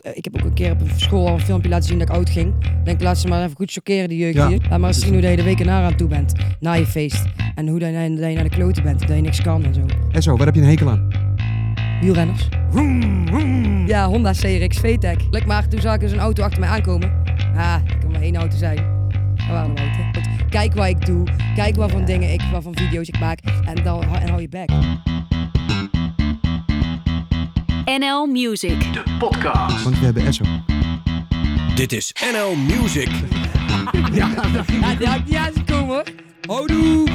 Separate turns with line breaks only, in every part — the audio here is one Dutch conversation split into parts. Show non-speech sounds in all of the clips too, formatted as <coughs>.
eh, ik heb ook een keer op een school al een filmpje laten zien dat ik oud ging. Ik Denk, laat ze maar even goed chockeren, die jeugd
Ja.
hier. Laat maar eens zien hoe dat je de week erna aan toe bent. Na je feest. En hoe dat je, dat je naar de kloten bent. Dat je niks kan en zo.
En zo, waar heb je een hekel aan?
Wielrenners. Ja, Honda CRX VTEC. Lek maar, toen zag ik dus een auto achter mij aankomen. Ah, er kan maar één auto zijn. Dat waren er auto. Want kijk wat ik doe. Kijk wat voor dingen ik, wat voor video's ik maak. En dan en hou je bek.
NL Music.
De podcast.
Want we hebben Esso.
Dit is NL Music.
Ja, die had ik niet aan zien komen hoor.
Houdoe!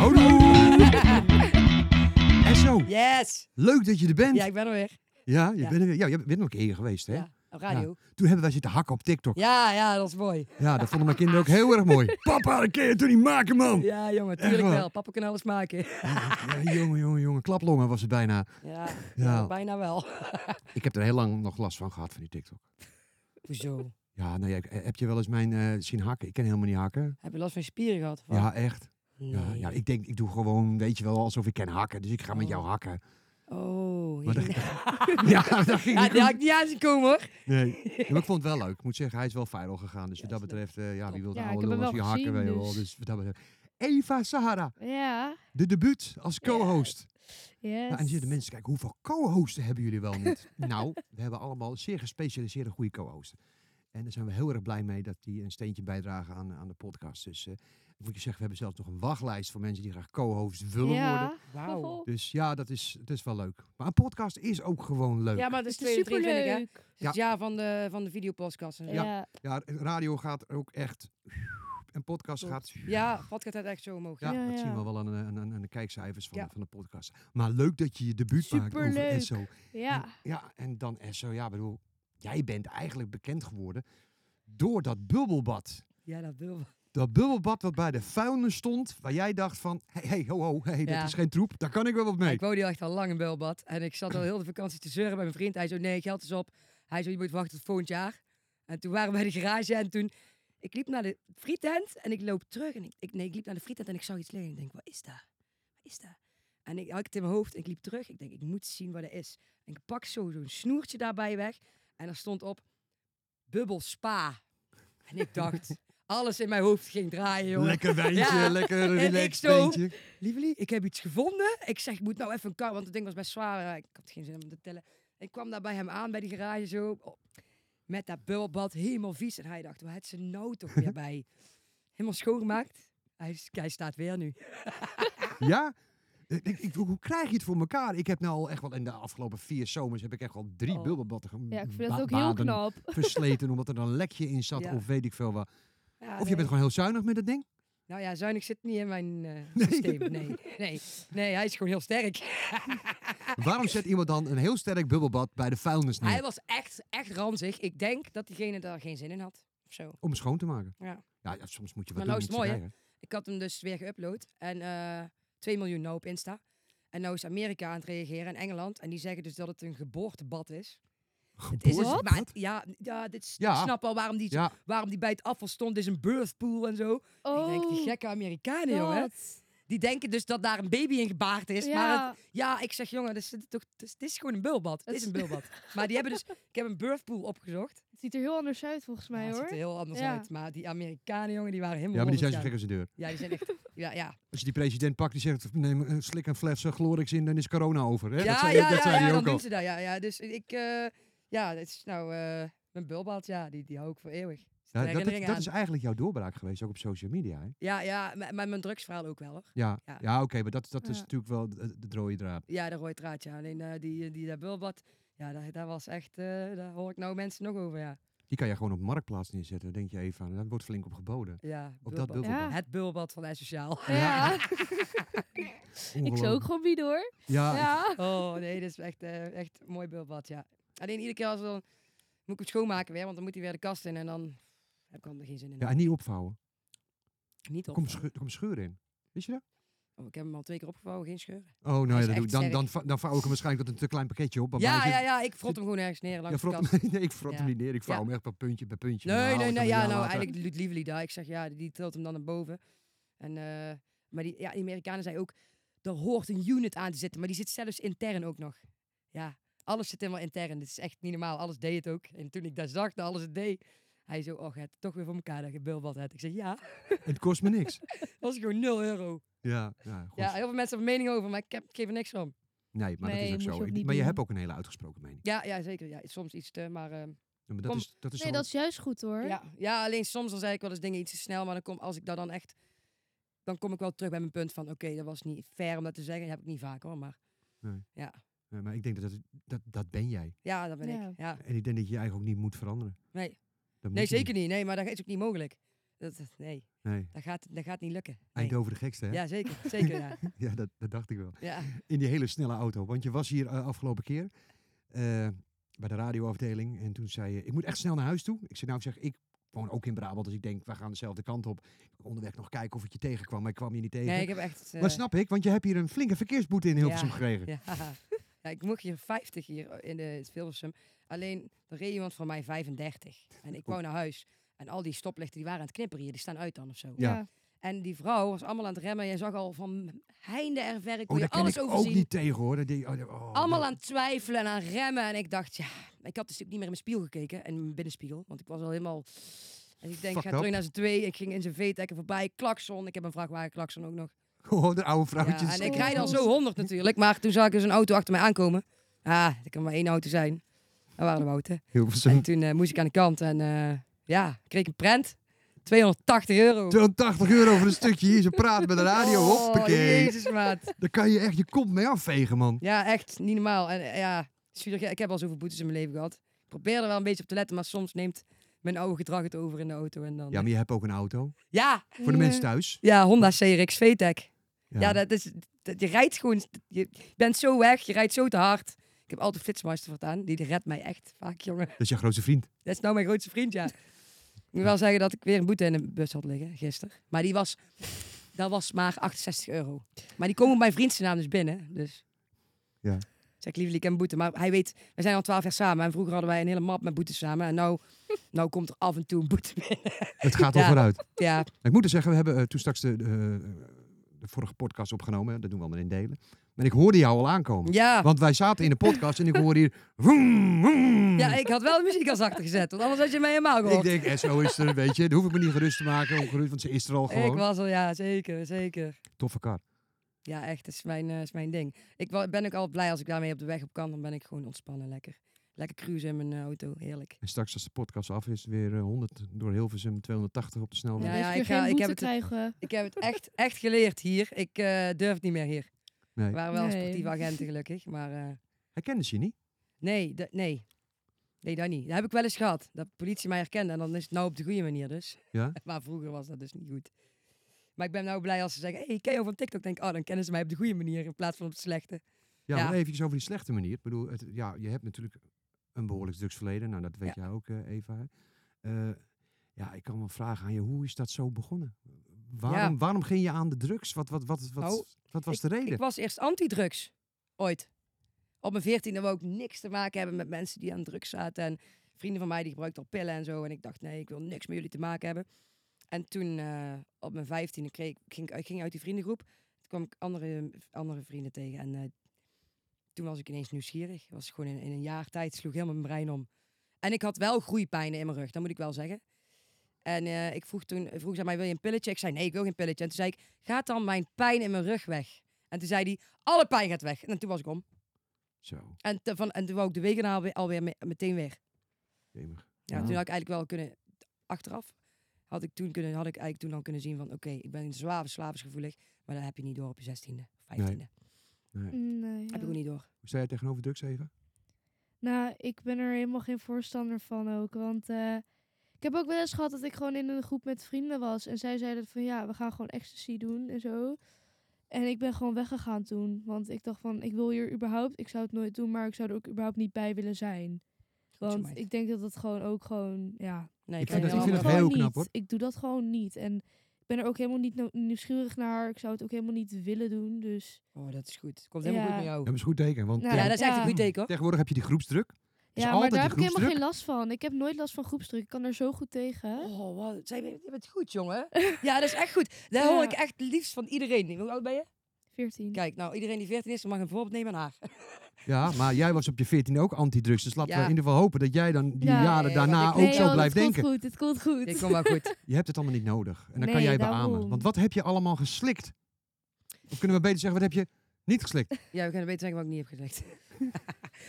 <laughs> Esso,
Yes.
leuk dat je er bent.
Ja,
Ja,
ik ben er weer.
je,
Ja.
Bent er, weer- ja je bent nog een keer geweest, hè?
Ja, op radio.
Toen hebben wij zitten hakken op TikTok. Ja,
Ja, ja, dat is mooi.
dat vonden mijn kinderen ook heel erg
<laughs>
mooi. Papa, dat kun je toen niet maken, man! Ja.
Ja, jongen, tuurlijk
waar?
wel. Papa kan alles maken.
jongen, jongen, jongen. Klaplongen was het bijna.
Ja,
<laughs> Ja.
bijna wel.
Ik heb er heel lang nog last van gehad, van die TikTok.
Hoezo?
Ja, nou ja, ik- heb je wel eens mijn eh, zien hakken? Ik kan helemaal niet hakken.
Heb je last van je spieren gehad? of wat?
Ja, echt. Ja,
Nee.
ja, ik denk, ik doe gewoon, weet je wel, alsof ik kan hakken. Dus ik ga met jou hakken.
Oh,
Maar
ja.
dat- <laughs> Ja, dat ging
<laughs> Ja,
niet
die had
goed.
ik niet aan zien komen hoor.
<laughs>
Nee. Ja, maar ik vond het wel leuk. Ik moet zeggen, hij is wel viral gegaan. Dus wat dat betreft, eh, ja, wie wil de
Ja, ik
oude
heb hem
jongens
wel
hier hakken?
gezien,
weet je wel.
dus.
Dus wat dat betreft. Eva Sahara,
Ja,
de debuut als co-host.
yes.
Nou, en dan zitten mensen te kijken, hoeveel co-hosten hebben jullie wel niet? <laughs> nou, we hebben allemaal zeer gespecialiseerde goede co-hosten. En daar zijn we heel erg blij mee dat die een steentje bijdragen aan, aan de podcast. Dus eh, ik moet je zeggen, we hebben zelfs nog een wachtlijst van mensen die graag co-host willen worden.
ja.
Wauw.
Dus ja, dat is, dat is wel leuk. Maar een podcast is ook gewoon leuk.
Ja,
Ja,
maar het is
Het is
2023 hè?
superleuk.
Het jaar van de, van de videopodcast. en zo.
Ja.
radio gaat ook echt... En podcast gaat...
Ja, wat gaat het echt zo omhoog?
Ja,
Ja,
dat
ja.
zien we wel aan de, aan, aan- aan de kijkcijfers van,
Ja.
van de podcast. Maar leuk dat je je debuut maakt over
Superleuk.
Esso.
ja.
En, ja, en dan Esso. Ja, bedoel, jij bent eigenlijk bekend geworden door dat bubbelbad.
Ja, dat wil
Dat bubbelbad wat bij de vuilnis stond, waar jij dacht van, hé, hey, ho, ho, hey,
Ja.
dat is geen troep, daar kan ik wel wat mee.
Ik woonde hier echt al lang in Belbad. En ik zat al heel de vakantie te zeuren bij mijn vriend. Hij zo, nee, geld is op. Hij zo, je moet wachten tot volgend jaar. En toen waren we bij de garage en toen... Ik liep naar de frietent en ik loop terug. En ik, ik- nee, ik liep naar de frietent en ik zag iets liggen. Ik denk, wat is dat? Wat is dat? En ik had het in mijn hoofd en ik liep terug. Ik denk, ik moet zien wat dat is. En ik pak zo zo'n snoertje daarbij weg. En er stond op, bubbel spa. En ik dacht, alles in mijn hoofd ging draaien, jongen.
Lekker wijntje,
<laughs> Ja.
lekker
ik
relaxed
zo.
wijntje.
Lievelie, ik heb iets gevonden. Ik zeg, ik moet nou even een kar, want het ding was best zwaar. Eh, Ik had geen zin om te tellen. Ik kwam daar bij hem aan, bij die garage zo. op- met dat bubbelbad, helemaal vies. En hij dacht, wat heeft ze nou toch
<laughs>
weer bij? Helemaal schoongemaakt. Hij, is- hij staat weer nu.
Ja? Ik denk, ik- hoe krijg je het voor elkaar? Ik heb nou al echt wel, in de afgelopen vier zomers heb ik echt wel drie
Oh.
bubbelbaden gem-
ja, ik vind dat
ba-
ook heel
<laughs>
baden
knap.
versleten, omdat er een lekje in zat
Ja.
of weet ik veel wat.
Ja,
Of je
nee.
bent gewoon heel zuinig met dat ding.
Nou ja, zuinig zit niet in mijn eh
<laughs> Nee.
systeem. Nee. nee. Nee, hij is gewoon heel sterk.
Waarom zet iemand dan een heel sterk bubbelbad bij de vuilnis neer?
Ah, Hij was echt, echt ranzig. Ik denk dat diegene daar geen zin in had. Of zo.
Om het schoon te maken.
Ja.
Ja, ja, soms moet je wat
Maar
doen.
nou is
om
het
iets te
Ik had hem dus weer geüpload. En eh 2 miljoen nou op Insta. En nou is Amerika aan het reageren en Engeland. En die zeggen dus dat het een geboortebad is.
krijgen.
Het is dus,
Geboorte-
maar het- ja, ja, dit, is-
Ja.
ik snap al waarom die,
Ja,
waarom die bij het afval stond. Dit is een birthpool en zo.
Oh,
Ik denk, die gekke Amerikanen, jongen.
dat.
Die denken dus dat daar een baby in gebaard is. Maar het-
Ja,
ja, ik zeg, jongen, dit is, toch, dit is, dit is gewoon een bulbad. Het is een
Het-
bulbad. maar die hebben dus, ik heb een birthpool opgezocht.
het ziet er heel anders uit volgens
Ja,
mij
het ziet er
hoor.
heel anders
Ja.
uit. Maar die Amerikanen, jongen, die waren
ja,
helemaal
maar die zijn zo
honderd
gek als de deur.
jaar. Ja, die zijn echt, ja, ja.
Als je die president pakt, die zegt, neem een slik en fles eh, Glorix in, dan is corona over. Hè?
Ja,
zei-
ja,
dat
ja,
zei
ja,
hij
dan
ook
doen
al.
ze dat. Ja, ja. Dus ik, eh, ja, het is nou eh, mijn bulbad, ja, die, die hou ik voor eeuwig. Zit
Ja, dat- dat,
herinneringen
dat
aan.
is eigenlijk jouw doorbraak geweest, ook op social media. Hè?
Ja, ja, maar maar mijn drugsverhaal ook wel hoor.
Ja, ja.
Ja.
oké, maar dat, dat is
Ja.
natuurlijk wel de, de rode draad.
Ja, de rode draad, ja. Alleen eh, die, die, dat bulbad, ja, dat, dat was echt, eh, daar hoor ik nou mensen nog over, ja.
Die kan je gewoon op marktplaats neerzetten, denk je even aan. Daar wordt flink op geboden.
Ja,
Op dat
bulbad.
bulbelbad.
Ja.
Het bulbad van Essentiaal.
Ja, ik zou
Ongelooflijk.
ook gewoon bieden hoor.
Ja,
Ja.
<laughs> Oh nee, dit is echt, eh, echt een mooi bulbad, ja. Alleen iedere keer als we dan, moet ik het schoonmaken weer, want dan moet hij weer de kast in en dan heb ik er geen zin in.
ja, en niet opvouwen.
Niet
Er
op.
komt scheur, er komt scheur in. Weet je dat?
Oh, ik heb hem al twee keer opgevouwen, geen scheur.
Oh, nou
is
ja, dat doe
echt
ik. dan,
sterk.
dan, va- dan vouw ik hem waarschijnlijk tot een te klein pakketje op. want
Ja,
dan is
ja,
het-
ja, ik frot hem gewoon ergens neer
Ja,
langs de
frot
kast.
hem- <laughs> nee, ik frot
Ja.
hem niet neer. Ik vouw
Ja.
hem echt per puntje, per puntje. Dan haal
Nee,
ik
nee,
hem
nee.
een
Ja,
jaar
nou,
later.
eigenlijk doet Lively daar. Ik zeg, ja, die tilt hem dan naar boven. En, eh, maar die, ja, die Amerikanen zeiden ook, er hoort een unit aan te zitten. Maar die zit zelfs intern ook nog. Ja, Alles zit helemaal intern. Dit is echt niet normaal. Alles deed het ook. En toen ik dat zag, dat alles het deed. Hij zo, oh, het toch weer voor elkaar dat je Bill wat hebt. Ik zeg, ja.
Het kost me niks. <laughs>
was gewoon 0 euro.
Ja, ja, goed.
Ja, heel veel mensen hebben mening over, maar ik, heb, ik geef er niks van.
Nee, maar
Nee,
dat
moet
is
je
ook zo.
ook
Ik-
niet
maar je
doen.
hebt ook een hele uitgesproken mening.
Ja, ja zeker. Ja, soms iets te, maar... ehm,
Ja, Maar dat
Kom.
is, dat is
Nee,
wel-
dat is juist goed hoor.
Ja, ja, alleen soms dan zei ik wel eens dingen iets te snel, maar dan kom, als ik dat dan echt, dan kom ik wel terug bij mijn punt van, oké, dat was niet fair om dat te zeggen. Dat heb ik niet vaak hoor, maar
Nee.
ja,
Nee, maar ik denk dat, het- dat dat ben jij.
ja, dat ben
Ja.
ik. Ja.
En ik denk dat je je eigen ook niet moet veranderen.
Nee.
Dat
Nee,
moet je
zeker niet. Nee, maar dat is ook niet mogelijk. Dat, dat- nee,
niet. Nee.
dat gaat, dat gaat niet lukken. Nee.
Eindhoven de gekste, hè? <laughs> Ja,
Ja, zeker. zeker ja.
dat, dat dacht ik wel.
Ja.
In die hele snelle auto. Want je was hier eh, afgelopen keer eh, bij de radioafdeling. En toen zei je, ik moet echt snel naar huis toe. Ik zei, nou, ik zeg, ik woon ook in Brabant. Dus ik denk, we gaan dezelfde kant op. Onderweg nog kijken of ik je tegenkwam. Maar ik kwam je niet tegen.
Nee, ik heb echt... eh,
Maar snap ik, want je hebt hier een flinke verkeersboete in Hilversum
Ja.
gekregen.
Ja. <laughs> ja, ik mocht hier 50 hier in de het Hilversum. Alleen, er reed iemand van mij 35. En ik wou naar huis. En al die stoplichten die waren aan het knipperen hier, die staan uit dan of zo.
Ja.
En die vrouw was allemaal aan het remmen. Je zag al van heinde en verre, kon
Oh,
je
daar kan
alles
ik ook
overzien.
niet tegen, hoor. Dat die, oh, dat- oh,
Allemaal
dat-
aan het twijfelen en aan remmen. En ik dacht, ja, ik had dus natuurlijk niet meer in mijn spiegel gekeken. En in mijn binnenspiegel, want ik was al helemaal... En ik denk, ik
Fucked
ga
up.
terug naar zijn twee. Ik ging in zijn V-tekken voorbij. Klakson, ik heb een vrachtwagen klakson ook nog.
<laughs> Oh, de oude
Ja,
vrouwtjes.
en ik
zo
rijd al
groot.
zo 100 natuurlijk. Maar toen zag ik dus een auto achter mij aankomen. Ah, er kan maar één auto zijn. Dat waren de Wouten. En
Hilversum.
toen eh, moest ik aan de kant. En eh, ja, kreeg ik een prent. 280 euro.
80 euro voor een stukje hier. Ze praten met de radio.
Oh,
Hoppakee.
jezus, maat.
Daar kan je echt je kont mee afvegen, man.
Ja, echt niet normaal. En eh, ja, zuurig- ik heb al zoveel boetes in mijn leven gehad. Ik probeer er wel een beetje op te letten, maar soms neemt mijn oude gedrag het over in de auto. En dan...
Ja, maar je hebt ook een auto.
ja,
Voor de
Mm.
mensen thuis.
ja, Honda CRX VTEC. Ja,
Ja.
dat is, dat, je rijdt gewoon, je bent zo weg, je rijdt zo te hard. Ik heb altijd Flitsmeister voortaan, die redt mij echt vaak, jongen.
Dat is je grootste vriend.
Dat is nou mijn grootste vriend, ja. Ik moet wel zeggen dat ik weer een boete in de bus had liggen gisteren. Maar die was, dat was maar 68 euro. Maar die komen op mijn vriendse naam dus binnen. Dus.
Ja.
Ik Zeg, lieve, ik heb een boete. Maar hij weet, we zijn al 12 jaar samen. En vroeger hadden wij een hele map met boetes samen. En nou, nou komt er af en toe een boete binnen.
Het
<laughs>
gaat al
Ja.
vooruit.
Ja,
Ik moet er zeggen, we hebben eh, toen straks de, de, eh, de vorige podcast opgenomen. hè. Dat doen we allemaal in delen. Maar ik hoorde jou al aankomen.
ja.
Want wij zaten in de podcast en ik
<laughs>
hoorde hier... Vroom, vroom.
Ja, ik had wel de muziek als achter gezet. Want anders had je mij helemaal
ik
gehoord.
denk, eh, zo is er, weet je. Dan hoef ik me niet gerust te maken. Ongerust, want ze is er al
ik
gewoon.
was al, ja, zeker, zeker.
Toffe kar.
Ja, echt, dat is mijn, eh, is mijn ding. Ik wa- ben ook al blij als ik daarmee op de weg op kan. Dan ben ik gewoon ontspannen, lekker. Lekker cruisen in mijn eh, auto, heerlijk.
En straks als de podcast af is, weer eh, 100 door Hilversum, 280 op de snelweg.
Ja,
ja,
ja,
ik
ik ga-
geen
ik
boete
heb het-
krijgen.
Ik heb het echt, echt geleerd hier. Ik eh, durf het niet meer hier.
Nee.
We waren wel
Nee.
sportieve agenten gelukkig, maar eh,
Hij kende ze niet.
nee, dat- nee. Nee, dat niet. Dat heb ik wel eens gehad. Dat de politie mij herkende en dan is het nou op de goede manier dus.
Ja?
<laughs> Maar vroeger was dat dus niet goed. Maar ik ben nou blij als ze zeggen, hey, ik ken jou van TikTok. denk ik, oh, dan kennen ze mij op de goede manier in plaats van op de slechte.
Ja,
Ja.
maar even over die slechte manier. Ik bedoel, het, ja, je hebt natuurlijk een behoorlijk drugsverleden. Nou, dat weet jij ook, eh, Eva. Eh, ja, ik kan me vragen aan je, hoe is dat zo begonnen? Waarom, waarom ging je aan de drugs? Wat, wat, wat, wat,
Nou,
wat was
ik-
de reden?
Ik was eerst anti-drugs, ooit. Op mijn veertiende wou ik niks te maken hebben met mensen die aan drugs zaten. En vrienden van mij die gebruikten al pillen en zo. En ik dacht, nee, ik wil niks met jullie te maken hebben. En toen eh, op mijn vijftiende kreeg, ik- ging ik uit- ging ik uit die vriendengroep. Toen kwam ik andere, andere vrienden tegen. En eh, toen was ik ineens nieuwsgierig. Was gewoon in, in een jaar tijd, sloeg helemaal mijn brein om. En ik had wel groeipijnen in mijn rug, dat moet ik wel zeggen. En eh, ik vroeg toen, vroeg ze aan mij, wil je een pilletje? Ik zei, nee, ik wil geen pilletje. En toen zei ik, gaat dan mijn pijn in mijn rug weg? En toen zei hij, alle pijn gaat weg. En toen was ik om.
Zo,
En, te- van, en toen wou ik de wegen alweer, alweer me- meteen weer.
jemig.
Ja,
Ja.
Toen had ik eigenlijk wel kunnen, achteraf, had ik toen, kunnen, had ik eigenlijk toen dan kunnen zien van, oké, ik ben zwaar verslavingsgevoelig. Maar dat heb je niet door op je zestiende, vijftiende.
Mm, Nee, ja.
Heb ik ook niet door.
Hoe sta je tegenover drugs, Eva?
Nou, ik ben er helemaal geen voorstander van ook. Want eh, ik heb ook wel eens gehad dat ik gewoon in een groep met vrienden was. En zij zeiden van ja, we gaan gewoon ecstasy doen en zo. En ik ben gewoon weggegaan toen. Want ik dacht van, ik wil hier überhaupt, ik zou het nooit doen, maar ik zou er ook überhaupt niet bij willen zijn.
zo,
Want
meid.
ik denk dat dat gewoon ook gewoon, ja.
Nee,
Ik
kan
vind
je wel
dat- ik vind dat
allemaal-
heel
gewoon
knap,
niet.
hoor.
Ik doe dat gewoon niet. En ik ben er ook helemaal niet no- nieuwsgierig naar. Ik zou het ook helemaal niet willen doen. Dus
Oh, dat is goed. Komt helemaal
Ja.
goed met jou.
Dat is een goed teken, want
Nou,
Ja,
eh,
dat is echt
Ja.
een goed teken hoor.
tegenwoordig heb je die groepsdruk. Is
ja, maar
altijd
daar
die
heb ik helemaal
groepsdruk.
geen last van. Ik heb nooit last van groepsdruk. Ik kan er zo goed tegen.
Oh, wat. Zij, je bent goed, jongen. <laughs> Ja, dat is echt goed. Dat
Ja.
hoor ik echt het liefst van iedereen. Hoe oud ben je?
14.
Kijk, nou, iedereen die 14 is, mag een voorbeeld nemen aan haar.
Ja, maar jij was op je 14 ook antidrugs. Dus laten
Ja.
we in ieder geval hopen dat jij dan die
Ja,
jaren
nee,
daarna
want
ook
ik-
nee,
zo
joh,
blijft
het komt
denken.
goed, het komt goed.
Dit komt <laughs> wel goed.
Je hebt het allemaal niet nodig. En dan kan
Nee,
jij beamen.
daarom.
Want wat heb je allemaal geslikt? Of kunnen we beter zeggen, wat heb je niet geslikt?
Ja, we kunnen beter zeggen wat ik niet heb gezegd.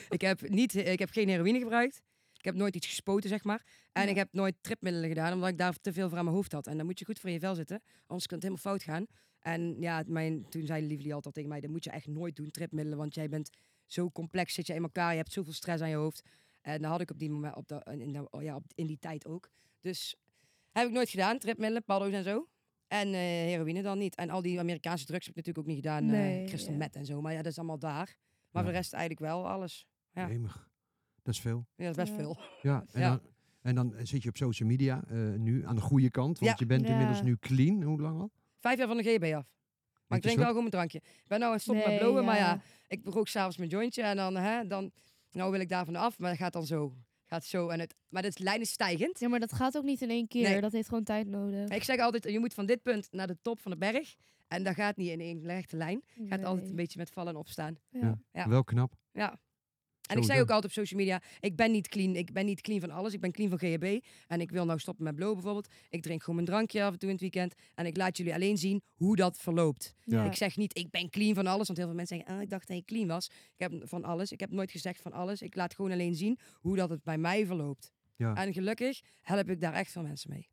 ik, heb niet, ik heb geen heroïne gebruikt. Ik heb nooit iets gespoten, zeg maar. En
Ja.
ik heb nooit tripmiddelen gedaan, omdat ik daar te veel voor aan mijn hoofd had. En dan moet je goed voor in je vel zitten, anders kan het helemaal fout gaan. En ja, mijn, toen zei Lively altijd tegen mij, dat moet je echt nooit doen, tripmiddelen. Want jij bent zo complex, zit je in elkaar, je hebt zoveel stress aan je hoofd. En dat had ik op die, moment, op dat- in, dat- ja, op, in die tijd ook. Dus heb ik nooit gedaan, tripmiddelen, paddo's en zo. En eh, heroïne dan niet. En al die Amerikaanse drugs heb ik natuurlijk ook niet gedaan. eh
Nee,
crystal
ja.
meth en zo. Maar ja, dat is allemaal daar. Maar
Ja.
voor de rest eigenlijk wel alles. Ja.
Jemig. Dat is veel.
Ja, dat is best
Ja.
veel.
Ja, en,
Ja.
Dan, en dan eh, zit je op social media eh, nu aan de goede kant. Want
Ja.
je bent
Ja.
inmiddels nu clean. Hoe lang al?
Vijf jaar van de GB af. Maar
Netjes
ik drink
hoor.
wel gewoon mijn drankje. Ik ben nou aan het stoppen met
Nee,
blowen, maar ja, ik rook s'avonds mijn jointje. En dan, hè, dan, nou wil ik daarvan af, maar dat gaat dan zo. Gaat zo en het, maar de lijn is stijgend.
Ja, maar dat gaat ook niet in één keer.
Nee.
Dat heeft gewoon tijd nodig.
Ik zeg altijd, je moet van dit punt naar de top van de berg. En dat gaat niet in één rechte lijn. Gaat altijd een beetje met vallen en opstaan.
beetje.
Ja.
Ja.
Ja.
Wel knap.
En ik zei
Sowieso.
ook altijd op social media, ik ben niet clean. Ik ben niet clean van alles. Ik ben clean van GHB. En ik wil nou stoppen met blowen bijvoorbeeld. Ik drink gewoon mijn drankje af en toe in het weekend. En ik laat jullie alleen zien hoe dat verloopt.
Ja.
Ik zeg niet, ik ben clean van alles. Want heel veel mensen zeggen, ah, ik dacht dat je clean was. Ik heb van alles. Ik heb nooit gezegd van alles. Ik laat gewoon alleen zien hoe dat het bij mij verloopt.
Ja.
En gelukkig help ik daar echt veel mensen mee.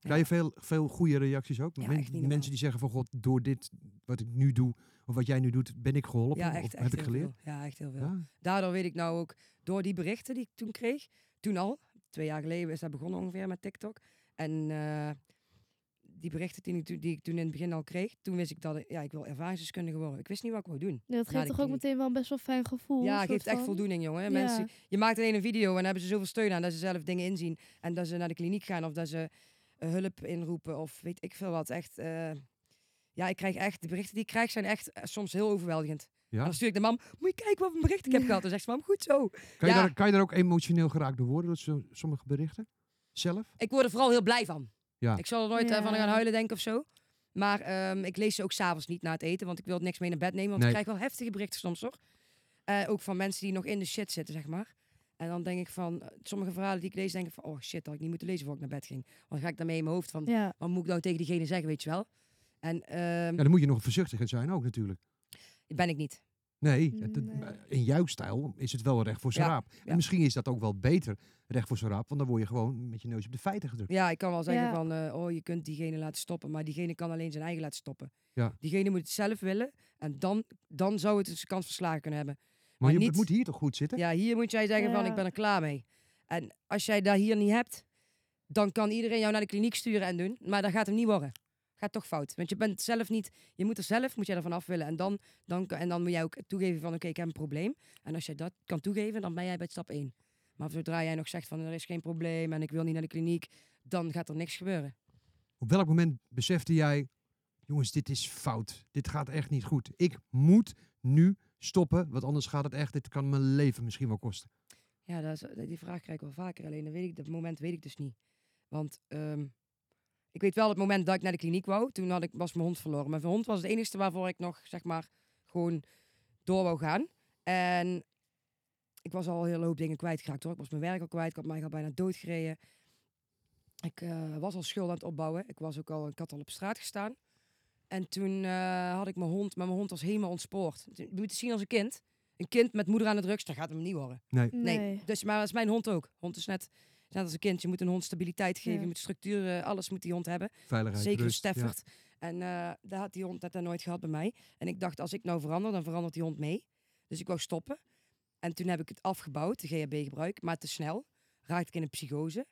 Krijg je veel, veel goede reacties ook?
Ja,
Men-
echt niet normaal.
mensen die zeggen van god, door dit wat ik nu doe, of wat jij nu doet, ben ik geholpen.
ja,
of
echt, echt
heb ik
heel
geleerd?
Veel. Ja, echt heel veel.
Ja?
Daardoor weet ik nou ook, door die berichten die ik toen kreeg, toen al, twee jaar geleden is dat begonnen ongeveer met TikTok. En eh, die berichten die ik, toen- die ik toen in het begin al kreeg, toen wist ik dat ik- ja, ik wil ervaringsdeskundige worden. Ik wist niet wat ik wou doen.
Nee, dat
Ja,
geeft
dat
toch ook
klinkt-
meteen wel een best wel fijn gevoel.
ja,
een
het
soort
geeft echt
van.
voldoening, jongen.
Ja.
Mensen, je maakt alleen een video en dan hebben ze zoveel steun aan dat ze zelf dingen inzien. En dat ze naar de kliniek gaan of dat ze eh, hulp inroepen of weet ik veel wat. Echt, eh, ja, ik krijg echt, de berichten die ik krijg zijn echt eh, soms heel overweldigend.
Ja?
En dan stuur ik de mam, moet je kijken wat voor bericht ik heb gehad. Dan zegt ze, mam, goed zo.
Kan,
Ja.
je daar, kan je daar ook emotioneel geraakt door worden, door zo- sommige berichten? Zelf?
Ik word er vooral heel blij van.
Ja.
Ik zal er nooit eh, van
Ja.
gaan huilen, denk ik, of zo. Maar ehm, ik lees ze ook s'avonds niet na het eten, want ik wil niks mee naar bed nemen. Want
Nee.
ik krijg wel heftige berichten soms, hoor. Eh, ook van mensen die nog in de shit zitten, zeg maar. En dan denk ik van, eh, sommige verhalen die ik lees, denk ik van... Oh shit, had ik niet moeten lezen voor ik naar bed ging. Want dan ga ik daarmee in mijn hoofd van,
Ja,
wat moet ik nou tegen diegene zeggen, weet je wel? En ehm,
Ja, dan moet je nog voorzichtig in zijn ook natuurlijk.
ben ik niet.
Nee, het- het-
Nee.
in jouw stijl is het wel recht voor zijn
Mm, Ja,
raap. En
ja.
misschien is dat ook wel beter, recht voor zijn raap, want dan word je gewoon met je neus op de feiten gedrukt.
Ja, ik kan wel zeggen
Ja.
van, eh, oh, je kunt diegene laten stoppen. Maar diegene kan alleen zijn eigen laten stoppen.
Ja.
Diegene moet het zelf willen. En dan, dan zou het dus kans verslagen kunnen hebben.
Maar,
Maar
je,
niet-
het moet hier toch goed zitten?
Ja, hier moet jij zeggen van
Ja.
ik ben er klaar mee. En als jij dat hier niet hebt, dan kan iedereen jou naar de kliniek sturen en doen. Maar dat gaat hem niet worden. Gaat toch fout. Want je bent zelf niet, je moet er zelf, moet jij ervan af willen. En dan, dan, kan- en dan moet jij ook toegeven van oké, ik heb een probleem. En als jij dat kan toegeven, dan ben jij bij stap 1. Maar zodra jij nog zegt van er is geen probleem en ik wil niet naar de kliniek, dan gaat er niks gebeuren.
Op welk moment besefte jij, jongens, dit is fout. Dit gaat echt niet goed. Ik moet nu stoppen, want anders gaat het echt, dit kan mijn leven misschien wel kosten.
Ja, dat is, die vraag krijg ik wel vaker. Alleen dat, weet ik, dat moment weet ik dus niet. Want ehm, ik weet wel het moment dat ik naar de kliniek wou. Toen had ik, was mijn hond verloren. Mijn hond was het enige waarvoor ik nog, zeg maar, gewoon door wou gaan. En ik was al een hele hoop dingen kwijtgeraakt hoor. Ik was mijn werk al kwijt. Ik had mij al bijna doodgereden. Ik eh, was al schuld aan het opbouwen. Ik, was ook al, ik had al op straat gestaan. En toen eh, had ik mijn hond, maar mijn hond was helemaal ontspoord. Je moet het zien als een kind. Een kind met moeder aan de drugs, dat gaat hem niet worden. Nee.
nee.
Dus, maar dat is mijn hond ook. Hond is net, net als een kind. Je moet een hond stabiliteit geven.
Ja.
Je moet structuur, eh, alles moet die hond hebben.
Veiligheid,
Zeker een
rust, ja.
Stafford. En eh daar had die hond dat had nooit gehad bij mij. En ik dacht, als ik nou verander, dan verandert die hond mee. Dus ik wou stoppen. En toen heb ik het afgebouwd, de GHB gebruik. Maar te snel raakte ik in een psychose.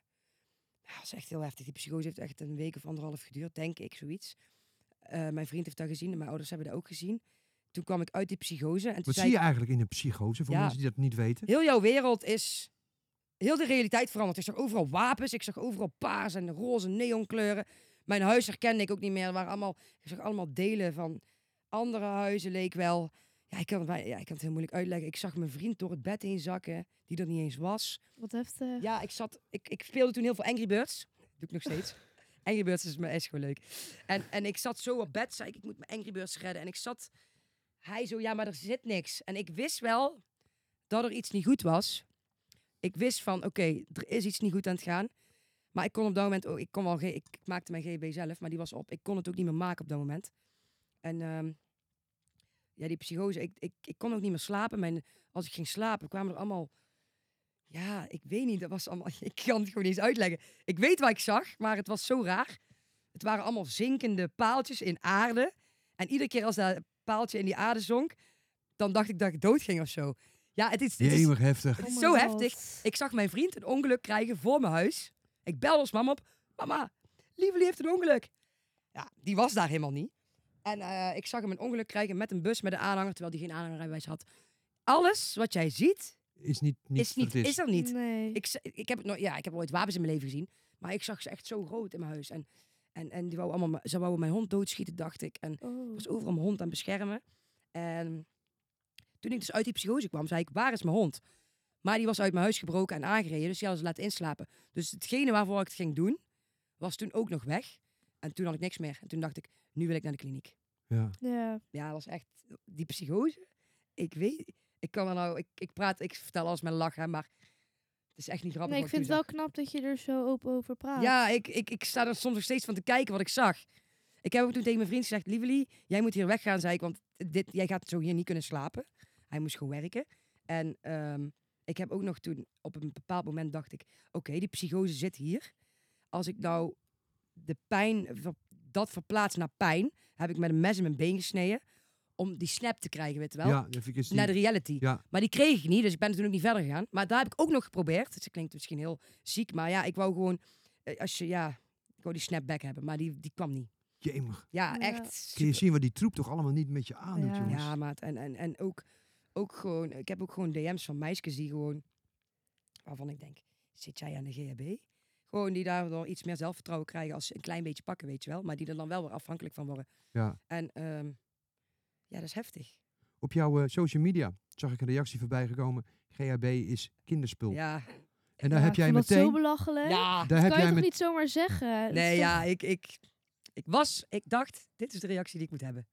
Ja, Dat is echt heel heftig. Die psychose heeft echt een week of anderhalf geduurd, denk ik, zoiets. Eh, mijn vriend heeft dat gezien en mijn ouders hebben dat ook gezien. Toen kwam ik uit die psychose. En toen
Wat
zei
zie
ik-
je eigenlijk in een psychose, voor
Ja.
mensen die dat niet weten?
Heel jouw wereld is. Heel de realiteit veranderd. Ik zag overal wapens. Ik zag overal paars en roze neonkleuren. Mijn huis herkende ik ook niet meer. Er waren allemaal, ik zag allemaal delen van andere huizen, leek wel. Ja ik, kan het, bij- ja, ik kan het heel moeilijk uitleggen. Ik zag mijn vriend door het bed heen zakken, die er niet eens was.
Wat heftig.
Ja, ik, zat, ik, ik speelde toen heel veel Angry Birds. doe ik nog steeds. Angry Birds is, me- is gewoon leuk. En, en ik zat zo op bed, zei ik, ik moet mijn Angry Birds redden. En ik zat Hij zo, ja, maar er zit niks. En ik wist wel dat er iets niet goed was. Ik wist van, oké, er is iets niet goed aan het gaan. Maar ik kon op dat moment, ook, ik, kon wel, ge- ik maakte mijn GB zelf, maar die was op. Ik kon het ook niet meer maken op dat moment. En ehm, ja, die psychose, ik, ik, ik kon ook niet meer slapen. Mijn, als ik ging slapen, kwamen er allemaal... Ja, ik weet niet, dat was allemaal... <laughs> Ik kan het gewoon niet eens uitleggen. Ik weet wat ik zag, maar het was zo raar. Het waren allemaal zinkende paaltjes in aarde. En iedere keer als dat paaltje in die aarde zonk, dan dacht ik dat ik dood ging of zo. Ja, het is, het is,
Jemig heftig.
het
Oh
is
my
zo
God.
heftig. Ik zag mijn vriend een ongeluk krijgen voor mijn huis. Ik belde ons mama op. Mama, Lievelie heeft een ongeluk. Ja, die was daar helemaal niet. En eh, ik zag hem een ongeluk krijgen met een bus met een aanhanger, terwijl die geen aanhangerrijbewijs had. Alles wat jij ziet,
Is niet, niet
is, niet,
wat het
is. er niet.
Nee.
Ik, z- ik, heb het nooit, ja, ik heb ooit wapens in mijn leven gezien, maar ik zag ze echt zo rood in mijn huis. En, en, en die wou allemaal, me- ze wouden mijn hond doodschieten, dacht ik. En
Oh.
ik was overal mijn hond aan het beschermen. En toen ik dus uit die psychose kwam, zei ik, waar is mijn hond? Maar die was uit mijn huis gebroken en aangereden, dus die hadden ze laten inslapen. Dus hetgene waarvoor ik het ging doen, was toen ook nog weg. En toen had ik niks meer. En toen dacht ik, nu wil ik naar de kliniek.
Ja.
Ja.
Ja, dat was echt die psychose. Ik weet, ik kan er nou, ik, ik praat, ik vertel alles met een lach, hè, maar het is echt niet grappig.
Nee, ik
wat ik
vind het
toen
wel knap dat je er zo open over praat.
ja, ik, ik, ik sta er soms nog steeds van te kijken wat ik zag. Ik heb ook toen tegen mijn vriend gezegd: Lievelie, jij moet hier weggaan, zei ik, want dit, jij gaat zo hier niet kunnen slapen. Hij moest gewoon werken. En ehm, ik heb ook nog toen, op een bepaald moment dacht ik: Oké, die psychose zit hier. Als ik nou de pijn, ver- dat verplaats naar pijn, heb ik met een mes in mijn been gesneden. Om die snap te krijgen, weet je wel?
ja, dat vind ik eens
Naar de
niet-
reality.
ja.
Maar die kreeg ik niet, dus ik ben toen ook niet verder gegaan. Maar daar heb ik ook nog geprobeerd. Dus dat klinkt misschien heel ziek, maar ja, ik wou gewoon... eh, Als je, ja, ik wou die snapback hebben, maar die, die kwam niet.
Jemig.
Ja,
Ja.
echt.
Kun
super-
je zien wat die troep toch allemaal niet met je aandoet,
Ja.
jongens.
Ja, maat. En, en, en ook, ook gewoon... Ik heb ook gewoon DM's van meisjes die gewoon... Waarvan ik denk, zit jij aan de GHB? Gewoon die daardoor iets meer zelfvertrouwen krijgen als ze een klein beetje pakken, weet je wel. Maar die er dan wel weer afhankelijk van worden.
Ja.
En ehm, ja, dat is heftig.
Op jouw eh, social media zag ik een reactie voorbij gekomen. GHB is kinderspul.
Ja.
En daar
Ja,
heb
ik
jij
vond dat
meteen...
zo belachelijk.
Ja.
Daar heb
kan je
jij
toch
met...
niet zomaar zeggen? Dat is
Nee,
Dus toch-
ja, ik, ik, ik was, ik dacht, dit is de reactie die ik moet hebben.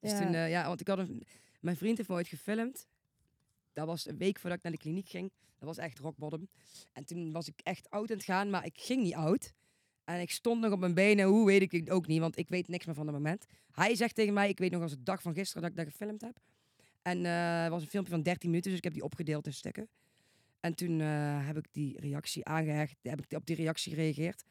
Dus
Ja.
toen, eh, ja, want ik had een, mijn vriend heeft me ooit gefilmd. Dat was een week voordat ik naar de kliniek ging. Dat was echt rock bottom. En toen was ik echt oud aan het gaan, maar ik ging niet oud. En ik stond nog op mijn benen, hoe weet ik het ook niet, want ik weet niks meer van dat moment. Hij zegt tegen mij, ik weet nog als de dag van gisteren dat ik dat gefilmd heb. En eh, het was een filmpje van 13 minuten, dus ik heb die opgedeeld in stukken. En toen eh, heb ik die reactie aangehecht, heb ik op die reactie gereageerd.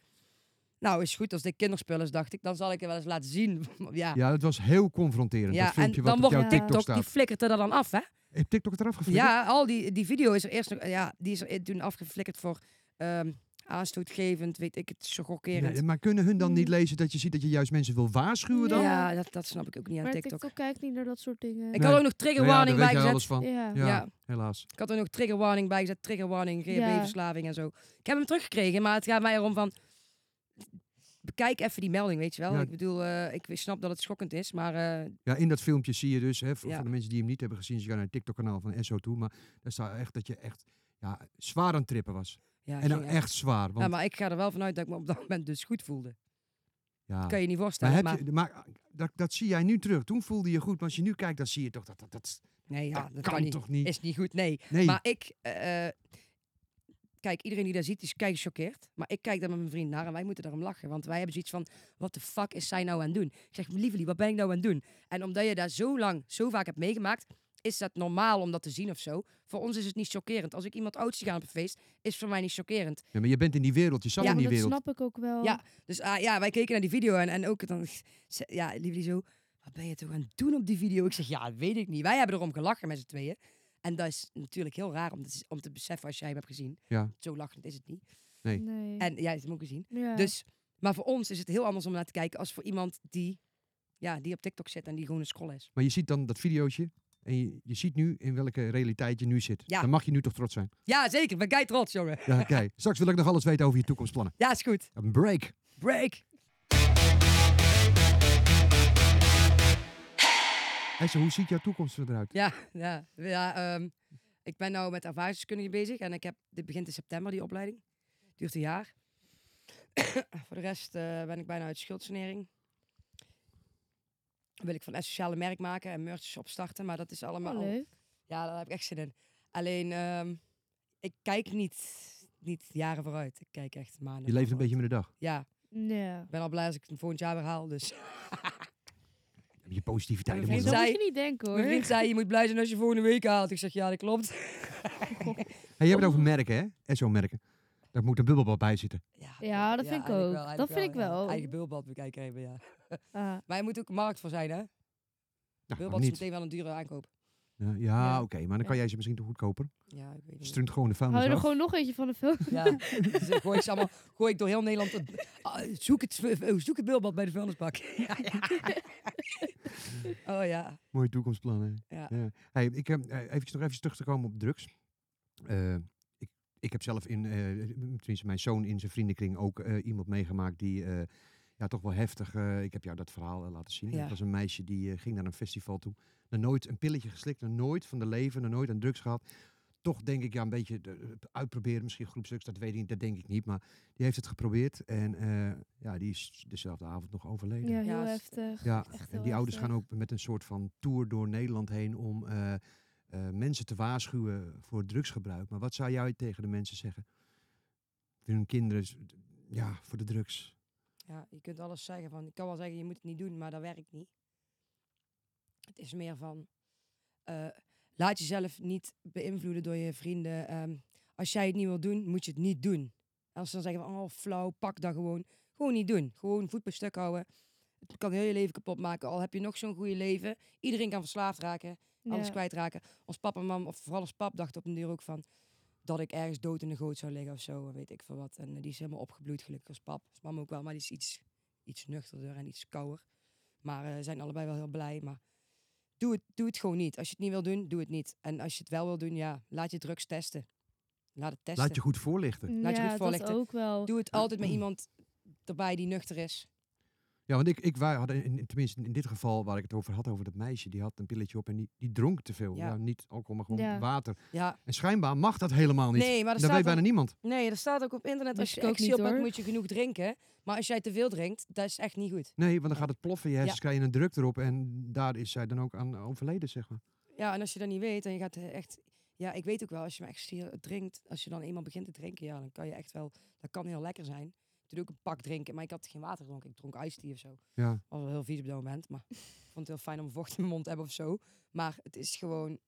Nou, is goed, als dit kinderspul is, dacht ik, dan zal ik het wel eens laten zien. <laughs> ja,
Ja, dat was heel confronterend.
ja
dat
en
filmpje
dan
wat op
wordt
jouw
Ja.
TikTok,
TikTok
die
staat.
flikkert er dan
<laughs>
af, hè?
Heeft TikTok eraf geflikkerd?
Ja, al die, die video is er eerst nog, ja, die is er toen afgeflikkerd voor ehm, aanstootgevend, weet ik het, zo chockerend.
Nee, maar kunnen hun dan niet
Mm.
lezen dat je ziet dat je juist mensen wil waarschuwen dan? Nou
Ja.
Ja, dat, dat snap ik ook niet aan
Maar
TikTok.
TikTok. kijkt niet naar dat soort dingen.
Ik
Nee.
had ook nog
Nou
trigger
ja, daar
warning
weet jij
bijgezet.
alles van.
ja.
Ja,
Ja.
helaas.
Ik had er nog trigger warning bijgezet, trigger warning,
Ja.
GHB-verslaving en zo. Ik heb hem teruggekregen, maar het gaat mij erom van... Bekijk even die melding, weet je wel.
Ja.
Ik bedoel, eh, ik snap dat het schokkend is, maar... eh,
Ja, in dat filmpje zie je dus, hè, voor,
Ja.
voor de mensen die hem niet hebben gezien, ze gaan naar het TikTok-kanaal van SO toe, maar daar staat echt dat je echt ja, zwaar aan het trippen was.
ja,
en
ging
dan
echt.
echt zwaar. Want,
Ja,
ja,
maar ik ga er wel vanuit dat ik me op dat moment dus goed voelde.
maar,
Kan je niet voorstellen. Maar
heb je, maar ah, dat, dat zie jij nu terug. Toen voelde je goed, maar als je nu kijkt, dan zie je toch dat dat, dat,
nee, ja,
dat
dat
kan,
kan niet.
toch niet?
Is niet goed, nee.
nee,
Maar ik, eh, eh, kijk, iedereen die daar ziet, is kijk gechoqueerd. Maar ik kijk daar met mijn vriend naar en wij moeten daarom lachen. Want wij hebben zoiets van, wat de fuck is zij nou aan het doen? Ik zeg, lievelie, wat ben ik nou aan het doen? En omdat je daar zo lang, zo vaak hebt meegemaakt, is dat normaal om dat te zien of zo. Voor ons is het niet chockerend. Als ik iemand oud zie gaan op een feest, is voor mij niet chockerend.
Ja, maar je bent in die wereld, je zat
Ja,
in
maar
die
dat
wereld.
snap ik ook wel.
Ja, dus ah, ja, wij keken naar die video en, en ook dan, ze- ja, lievelie zo, wat ben je toch aan het doen op die video? Ik zeg, ja, dat weet ik niet. Wij hebben erom gelachen met z'n tweeën. En dat is natuurlijk heel raar om te, om te beseffen als jij hem hebt gezien.
Ja.
Zo lachend is het niet.
Nee.
En jij hebt hem ook gezien.
Ja.
Dus, maar voor ons is het heel anders om naar te kijken als voor iemand die, ja, die op TikTok zit en die gewoon een scroll is.
Maar je ziet dan dat videootje en je, je ziet nu in welke realiteit je nu zit.
Ja.
Dan mag je nu toch trots zijn.
Ja, zeker. Ben jij trots, jongen.
Ja,
<laughs>
oké. Straks wil ik nog alles weten over je toekomstplannen.
Ja, is goed.
Een break.
Break.
Esso, hoe ziet jouw toekomst eruit?
Ja, ja. ja ehm, ik ben nou met ervaringskundige bezig en ik heb, dit begint in september, die opleiding. Duurt een jaar. <coughs> Voor de rest eh, ben ik bijna uit schuldsanering. wil ik van een sociale merk maken en merch opstarten. Maar dat is allemaal...
Oh,
al-
leuk.
ja, daar heb ik echt zin in. Alleen, ehm, ik kijk niet, niet jaren vooruit. Ik kijk echt maanden.
Je leeft een
vooruit.
beetje met de dag.
Ja,
Ja.
ik ben al blij als ik het volgend jaar weer haal. Dus
Heb je positiviteit
Mijn
in
Zo
de
vriend
mond.
moet
zei-
je niet denken hoor.
mijn vriend zei, je moet blij zijn als je volgende week haalt. Ik zeg, ja, dat klopt.
Hey, je hebt het over merken, hè? En zo'n merken. Daar moet een bubbelbad bij zitten.
Ja,
Ja, dat vind ik
eigenlijk
ook.
eigenlijk
Dat vind ik
ja.
wel.
Eigen bulbad bekijken hebben, ja.
Ah,
Maar je moet ook markt voor zijn, hè?
Nou,
Bulbad
waarom
is
niet.
meteen wel een dure aankoop.
Ja,
Ja.
ja oké. maar dan kan jij ze misschien toch goedkoper.
Ja, ik weet niet.
Strunt gewoon de vuilnis
hou je er
af.
gewoon nog eentje van de
<laughs>
film? <laughs>
Ja, dus dan gooi ik, ze allemaal, gooi ik door heel Nederland. het- ah, zoek, het, eh, zoek het bulbad bij de vuilnisbak. <laughs> Ja,
<laughs>
ja. Oh ja.
Mooie toekomstplannen.
Ja.
Hey, ik heb eh, eventjes nog even terug te komen op drugs. Eh, ik, ik heb zelf in, eh, tenminste mijn zoon in zijn vriendenkring ook eh, iemand meegemaakt die eh, ja, toch wel heftig. eh, ik heb jou dat verhaal eh, laten zien.
Ja.
Dat was een meisje die eh, ging naar een festival toe. Nog nooit een pilletje geslikt, nog nooit van de leven, nog nooit aan drugs gehad. Toch denk ik ja, een beetje de- uitproberen, misschien groepsdrugs, dat weet ik niet, dat denk ik niet. Maar die heeft het geprobeerd en eh, ja, die is dezelfde avond nog overleden.
Ja, heel
Ja, s-
heftig.
Ja,
echt
en
heel
die ouders gaan
heftig.
ook met een soort van tour door Nederland heen om eh, eh, mensen te waarschuwen voor drugsgebruik. Maar wat zou jij tegen de mensen zeggen? Voor hun kinderen, z- ja, voor de drugs.
Ja, je kunt alles zeggen van, ik kan wel zeggen, je moet het niet doen, maar dat werkt niet. Het is meer van, eh, laat jezelf niet beïnvloeden door je vrienden. Ehm, als jij het niet wil doen, moet je het niet doen. Als ze dan zeggen van, oh flauw, pak dat gewoon. Gewoon niet doen. Gewoon voet bij stuk houden. Het kan heel je leven kapot maken. Al heb je nog zo'n goede leven. Iedereen kan verslaafd raken. Alles
Ja.
kwijtraken. Ons papa en mam, of vooral ons pap, dacht op een duur ook van... dat ik ergens dood in de goot zou liggen of zo. en Weet ik veel wat. En eh, die is helemaal opgebloeid gelukkig als pap. Als mam ook wel, maar die is iets, iets nuchterder en iets kouder. Maar eh, zijn allebei wel heel blij. Maar doe het, doe het gewoon niet. Als je het niet wil doen, doe het niet. En als je het wel wil doen, ja, laat je drugs testen. Laat het testen.
Laat je goed voorlichten.
Laat je
ja,
goed
dat
voorlichten.
ook wel.
Doe het altijd met iemand erbij die nuchter is.
Ja, want ik, ik wa- had in, in- tenminste in dit geval waar ik het over had, over dat meisje, die had een pilletje op en die, die dronk te veel. Ja.
Ja.
niet alcohol, maar gewoon
Ja.
water.
Ja,
En schijnbaar mag dat helemaal niet.
nee, maar er
dat weet
staat
bijna
ook,
niemand.
nee, er staat ook op internet. Als
Wist
je
ik ook
actie
niet,
op hebt,
hoor.
moet je genoeg drinken. Maar als jij te veel drinkt, dat is echt niet goed.
Nee, want dan gaat het ploffen. Je hersens krijgen een druk erop en daar is zij dan ook aan overleden, zeg maar.
Ja, en als je dat niet weet en je gaat eh, echt... Ja, ik weet ook wel, als je maar echt stier- drinkt, als je dan eenmaal begint te drinken, ja, dan kan je echt wel... Dat kan heel lekker zijn. Ik doe ook een pak drinken, maar ik had geen water gedronken. Ik dronk iced tea of zo.
Ja.
was wel heel vies op dat moment, maar ik vond het heel fijn om vocht in mijn mond te hebben of zo. Maar het is gewoon...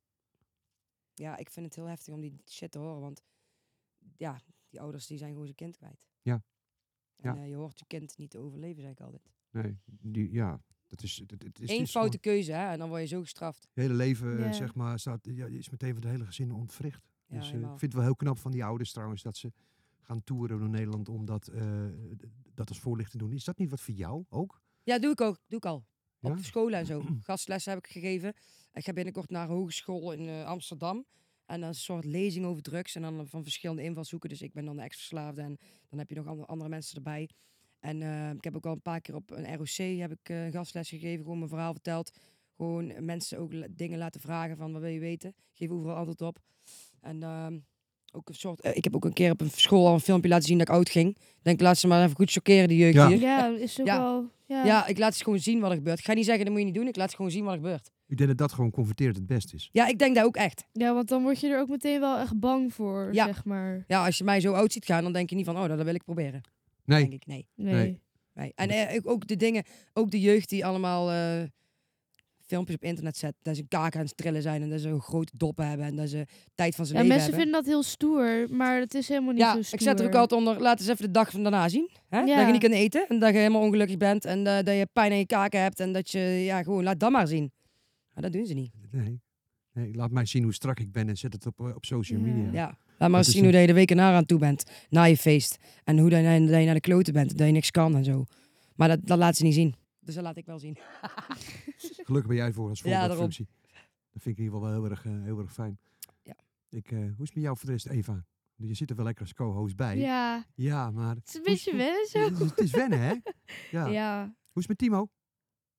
Ja, ik vind het heel heftig om die shit te horen, want ja, die ouders die zijn gewoon zijn kind kwijt.
Ja.
En
Ja.
eh, je hoort je kind niet te overleven, zeg ik altijd.
Nee, die, ja, dat is... Het, het is,
Eén
is gewoon-
foute keuze, hè, en dan word je zo gestraft.
Het hele leven, eh,
Ja.
zeg maar, staat, ja, is meteen voor de hele gezin ontwricht.
Ja,
dus eh, ik
helemaal.
vind het wel heel knap van die ouders trouwens, dat ze gaan toeren door Nederland om dat, eh, d- dat als voorlichting te doen. Is dat niet wat voor jou ook?
Ja, doe ik ook. Doe ik al.
Ja?
Op scholen
<clears throat>
en zo. Gastlessen heb ik gegeven. Ik ga binnenkort naar een hogeschool in eh, Amsterdam. En dan is een soort lezing over drugs. En dan van verschillende invalshoeken. Dus ik ben dan de ex-verslaafde. En dan heb je nog andere, andere mensen erbij. En eh, ik heb ook al een paar keer op een ROC heb ik, eh, een gastles gegeven. Gewoon mijn verhaal verteld. Gewoon mensen ook la- dingen laten vragen van wat wil je weten. Geef overal antwoord op. En ehm, ook een soort... eh, ik heb ook een keer op een school al een filmpje laten zien dat ik oud ging. Ik Denk, laat ze maar even goed chockeren die jeugd
Ja.
hier.
Ja, is ook
<laughs> Ja.
wel... Ja.
Ja, ik laat ze gewoon zien wat er gebeurt. Ik ga niet zeggen, dat moet je niet doen. Ik laat ze gewoon zien wat er gebeurt.
Ik denk dat dat gewoon converteert het best is.
Ja, ik denk dat ook echt.
Ja, want dan word je er ook meteen wel echt bang voor,
Ja.
zeg maar.
Ja, als je mij zo oud ziet gaan, dan denk je niet van, oh, dat, dat wil ik proberen.
Nee,
Denk ik, nee.
Nee.
Nee.
nee. En eh, ook- ook de dingen, ook de jeugd die allemaal eh, filmpjes op internet zet. Dat ze een kaak aan het trillen zijn en dat ze een grote doppen hebben en dat ze tijd van
Ja,
zijn
mensen
leven hebben.
vinden dat heel stoer, maar het is helemaal niet
ja,
zo
ik
stoer.
zet er ook altijd onder, laat eens even de dag van daarna zien. Hè?
Ja.
Dat je niet kan eten en dat je helemaal ongelukkig bent en eh, dat je pijn aan je kaken hebt en dat je, ja, gewoon laat dat maar zien. Maar dat doen ze niet.
nee, nee. Laat mij zien hoe strak ik ben en zet het op, eh, op social
Ja.
media.
Ja. Laat maar
Dat
eens
is
zien hoe dat je de week erna aan toe bent. Na je feest. En hoe dat je, dat je naar de kloten bent. Dat je niks kan en zo. Maar dat, dat laat ze niet zien. Dus dat laat ik wel zien.
Gelukkig ben jij voor als
Ja, daarom.
voorbeeldfunctie. dat vind ik in ieder geval wel heel erg, eh, heel erg fijn.
Ja.
Ik, eh, hoe is het met jou voor de rest, Eva? Je zit er wel lekker als co-host bij.
Ja,
Ja, maar
het is een
Hoe is-
<laughs> beetje wennen zo.
het is wennen, hè?
Ja.
Hoe is het met Timo?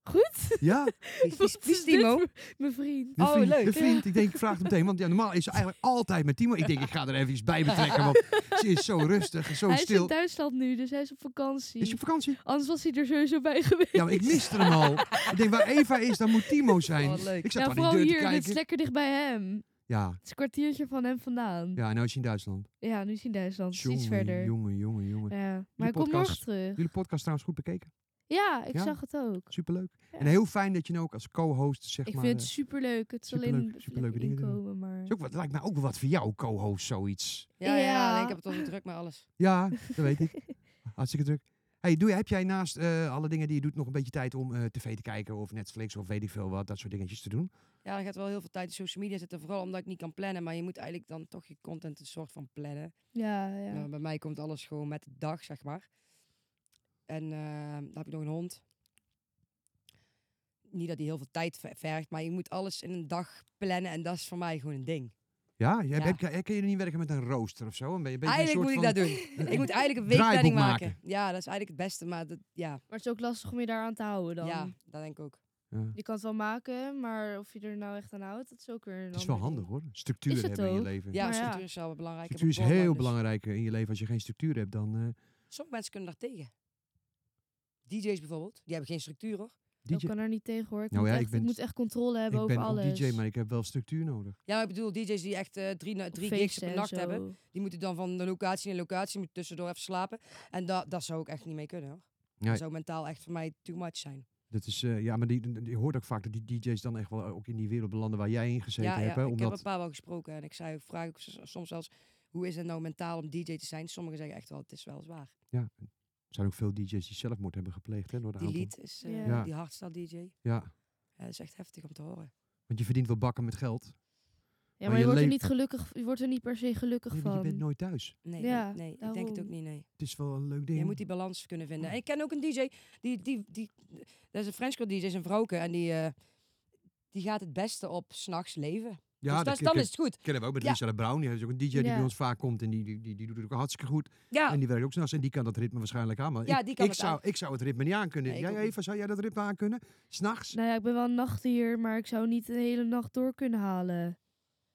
Goed? <laughs>
Ja,
Wie is- wie is-
Wat
wie
is
is Timo?
dit voor- Mijn vriend.
de
Oh,
vriend,
leuk.
De vriend, ik denk, ik vraag het meteen. Want ja, normaal is ze eigenlijk altijd met Timo. Ik denk, ik ga er even iets bij betrekken. Want ze is zo rustig, en zo
hij is in
stil.
Duitsland nu, dus hij is op vakantie.
Is je op vakantie?
Anders was hij er sowieso bij geweest.
Ja, maar ik miste hem al. Ik denk, waar Eva is, daar moet Timo zijn.
Oh, wat leuk.
Ik zat
nou,
aan
vooral
die deur
hier,
te
dit
kijken.
is lekker dicht bij hem. Het
Ja,
is een kwartiertje van hem vandaan. Ja,
ja, en nou is hij in Duitsland.
nu is hij in Duisland. Het is iets
Jongen,
verder.
Jongen, jongen, jongen.
Ja, maar ik kom
podcast.
morgen terug.
Jullie podcast trouwens goed bekeken.
Ja, ik
Ja.
zag het ook.
Superleuk. En heel fijn dat je nou ook als co-host, zeg
Ik
maar...
vind
eh,
het superleuk. Het is alleen
superleuk-
een
superleuke
flinke
dingen doen.
inkomen, maar...
is ook wat, lijkt mij ook wel wat voor jou, co-host, zoiets.
Ja, ja, ja.
Ja.
nee, ik heb het al zo druk met alles.
Ja, dat weet ik.
<laughs>
Hartstikke druk. Hey, doe, je- heb jij naast eh, alle dingen die je doet nog een beetje tijd om eh, tv te kijken of Netflix of weet ik veel wat, dat soort dingetjes te doen?
Ja, dan gaat wel heel veel tijd in social media zitten. Vooral omdat ik niet kan plannen. Maar je moet eigenlijk dan toch je content een soort van plannen.
Ja, ja.
Nou, bij mij komt alles gewoon met de dag, zeg maar. En eh, dan heb ik nog een hond. Niet dat die heel veel tijd ver- vergt, maar je moet alles in een dag plannen. En dat is voor mij gewoon een ding.
Ja, je-
Ja.
Heb, heb- kun je niet werken met een rooster of zo? Een be- een beetje een
eigenlijk moet ik
soort
dat
van-
doen.
een-
ik moet eigenlijk een
draaiboek
weekplanning maken.
maken.
Ja, dat is eigenlijk het beste. Maar dat, ja,
Maar het is ook lastig om je daaraan te houden dan.
ja, dat denk ik ook.
Ja.
Je kan het wel maken, maar of je er nou echt aan houdt, dat is ook weer een
Het is wel
ander
handig
ding.
hoor. Structuur
Is het
hebben in je
ook?
leven.
Ja,
Maar Nou ja.
structuur is wel belangrijk. Ik heb
Structuur is
een
heel
programma, dus
belangrijk eh, in je leven. Als je geen structuur hebt, dan... eh,
Sommige mensen kunnen daar tegen. DJ's bijvoorbeeld, die hebben geen structuur hoor.
Ik
DJ.
kan er niet tegen hoor. Ik,
Nou
moet,
ja,
echt,
ik ben-
ik moet echt controle hebben
Ik
over
ben ook
alles.
DJ, maar ik heb wel structuur nodig.
Ja, maar ik bedoel, DJ's die echt eh, drie, na-
Op
drie gigs
feesten
per
en
nacht
zo.
hebben. Die moeten dan van de locatie naar locatie, moeten tussendoor even slapen. En da daar zou ik echt niet mee kunnen hoor.
Nee.
Dat zou mentaal echt voor mij too much zijn.
Dat is, eh, ja, maar die, die- je hoort ook vaak dat die DJ's dan echt wel eh, ook in die wereld belanden waar jij in gezeten
ja, ja,
hebt. Hè?
ik
Omdat,
heb een paar wel gesproken en ik zei, ik vraag ook s- soms zelfs, hoe is het nou mentaal om DJ te zijn? Sommigen zeggen echt wel, het is wel zwaar.
Er zijn ook veel DJ's die zelfmoord hebben gepleegd. Hè, door de
Die
aanval.
lied is, eh,
Ja.
die hardstyle DJ, ja,
Ja,
dat is echt heftig om te horen.
want je verdient wel bakken met geld.
Ja,
Maar
maar, je,
je
wordt er
le-
niet gelukkig, je wordt er niet per se gelukkig
Nee, maar
van.
je bent nooit thuis.
Nee,
Ja,
nee, nee, ik denk het ook
daarom.
niet, nee.
Het is wel een leuk ding.
Je moet die balans kunnen vinden. En ik ken ook een DJ, die, die, die, dat is een French girl DJ, is een vrouwke. En die, eh, die gaat het beste op s'nachts leven. dus
ja, dat
dat, is-
ken-
dan is het goed.
ken- kennen we ook met
Ja.
Lisa de Brown. Die is ook een DJ die
Ja.
bij ons vaak komt. En die, die, die, die doet het ook hartstikke goed.
Ja,
En die werkt ook s'nachts. En die kan dat ritme waarschijnlijk aan. Maar
Ja,
ik,
die kan
ik
het
zou,
aan.
Ik zou het ritme niet aan kunnen.
Nee, ik
jij
ook niet.
Eva, zou jij dat ritme aan kunnen? S'nachts?
Nou ja, ik ben wel een nachtdier, maar ik zou niet een hele nacht door kunnen halen.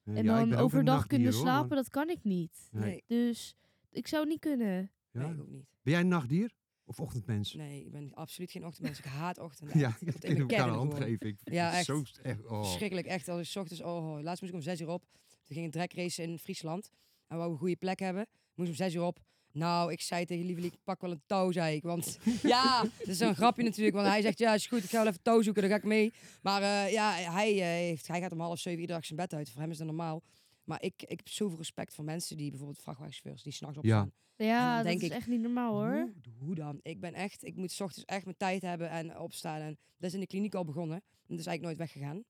Eh,
En
ja, ik
dan
ben ook een
overdag
nachtdier,
kunnen
hoor,
slapen,
maar-
dat kan ik niet.
Nee.
Nee,
Dus ik zou het niet kunnen.
ja.
nee, ik ook niet.
Ben jij een nachtdier? Of ochtendmens?
Nee, ik ben absoluut geen ochtendmens. Ik haat
<laughs>
ochtenden.
Ja,
echt.
ik
Tot
kan
in mijn
elkaar een
kern
hand
gewoon.
geven. Ik vind
Ja,
het
echt.
Zo, echt oh.
Verschrikkelijk, echt. Als ik 's ochtends, oh, laatst moest ik om zes uur op. Toen ging een trekrace in Friesland. En wou een goede plek hebben. Moest om zes uur op. Nou, ik zei tegen Lievelie, ik pak wel een touw, zei ik. Want ja, dat is een grapje natuurlijk. Want hij zegt, ja, is goed, ik ga wel even touw zoeken, dan ga ik mee. Maar eh, ja, hij, eh, heeft, hij gaat om half zeven iedere dag zijn bed uit. Voor hem is dat normaal. Maar ik, ik heb zoveel respect voor mensen die bijvoorbeeld vrachtwagenchauffeurs, die s'nachts opstaan.
Ja, dat
denk
is
ik,
echt niet normaal hoor.
Hoe, hoe dan? Ik ben echt, ik moet 's ochtends echt mijn tijd hebben en opstaan. En dat is in de kliniek al begonnen. En dat is eigenlijk nooit weggegaan.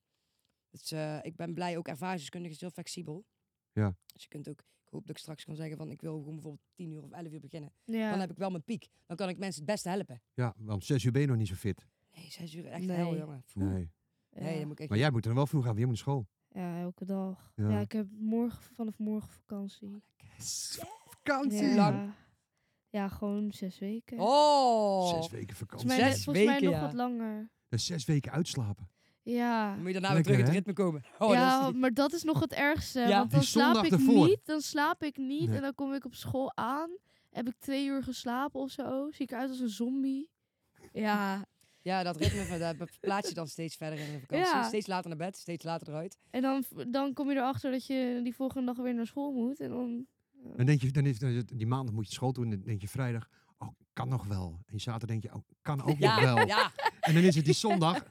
Dus eh, ik ben blij, ook ervaringskundig is heel flexibel.
Ja.
Dus je kunt ook, ik hoop dat ik straks kan zeggen van ik wil gewoon bijvoorbeeld 10 uur of 11 uur beginnen. Dan
Ja.
heb ik wel mijn piek. Dan kan ik mensen het beste helpen.
Ja, want om zes uur ben je nog niet zo fit.
Nee, 6 uur echt heel
Nee.
jongen. Pfoe.
Nee.
Nee,
ja.
dan moet ik echt...
Maar jij moet er wel vroeg aan. Jij moet naar school.
Ja, elke dag.
Ja.
Ja. ik heb morgen vanaf morgen vakantie.
Vakantie.
Hoe Oh, lang?
Ja, gewoon zes weken.
Oh!
Zes weken vakantie.
volgens mij,
zes
volgens mij
weken,
nog
ja.
wat langer.
Dat is zes weken uitslapen.
Ja.
Dan moet je daarna weer
Lekker,
terug in het
hè?
ritme komen. Oh,
ja,
dat is
maar dat is nog het ergste.
Ja.
Want
Die
dan slaap
zondag
ik
ervoor.
niet. Dan slaap ik niet.
Nee.
En dan kom ik op school aan. Heb ik twee uur geslapen of zo. Zie ik uit als een zombie. Ja.
ja, dat ritme van, dat plaats je dan steeds verder in de vakantie.
Ja.
Steeds later naar bed, steeds later eruit.
En dan, dan kom je erachter dat je die volgende dag weer naar school moet. En dan...
Dan denk je, dan is, dan is het- die maandag moet je school doen. En dan denk je vrijdag, oh, kan nog wel. En zaterdag denk je, oh, kan ook nog wel.
Ja, ja.
En dan is het die zondag.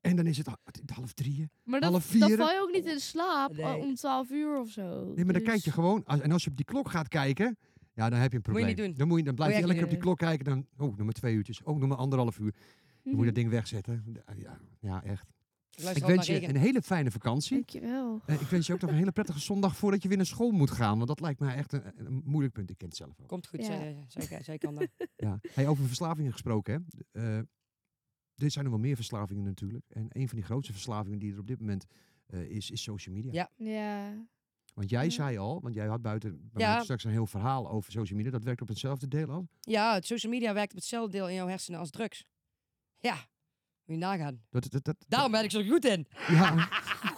En dan is het, ah, het is half drieën.
Maar dan,
Half
dan
vieren?
val je ook niet in slaap eh,
Nee.
om twaalf uur of zo.
Nee, maar dan
Dus-
kijk je gewoon. als- en als je op die klok gaat kijken, ja, dan heb je een
Moet
probleem.
je niet doen.
Dan, moet je, dan blijf
Moet
je
je
lekker
echt
op die
niet
klok kijken. Dan, oh, nog maar twee uurtjes. Oh, nog maar anderhalf uur. Dan moet je
Mhm.
dat ding wegzetten. eh, Ja, ja echt.
Ik luister
Ik
al naar
wens je
regen.
een hele fijne vakantie.
Dankjewel.
Eh, ik wens je ook nog een hele prettige zondag voordat je weer naar school moet gaan. Want dat lijkt mij echt een, een moeilijk punt. Ik ken het zelf ook.
Komt goed,
Ja.
zij, zij, zij kan <laughs> dat.
Ja. Hey, over verslavingen gesproken. Hè. Eh, er zijn er wel meer verslavingen natuurlijk. En een van die grootste verslavingen die er op dit moment eh, is, is social media.
Ja.
Ja.
Want jij
Ja.
zei al, want jij had buiten bij
Ja.
mij straks een heel verhaal over social media. Dat werkt op hetzelfde deel al.
Ja, het social media werkt op hetzelfde deel in jouw hersenen als drugs. Ja, Moet je nagaan.
Dat, dat, dat,
Daarom ben ik zo goed in.
Ja,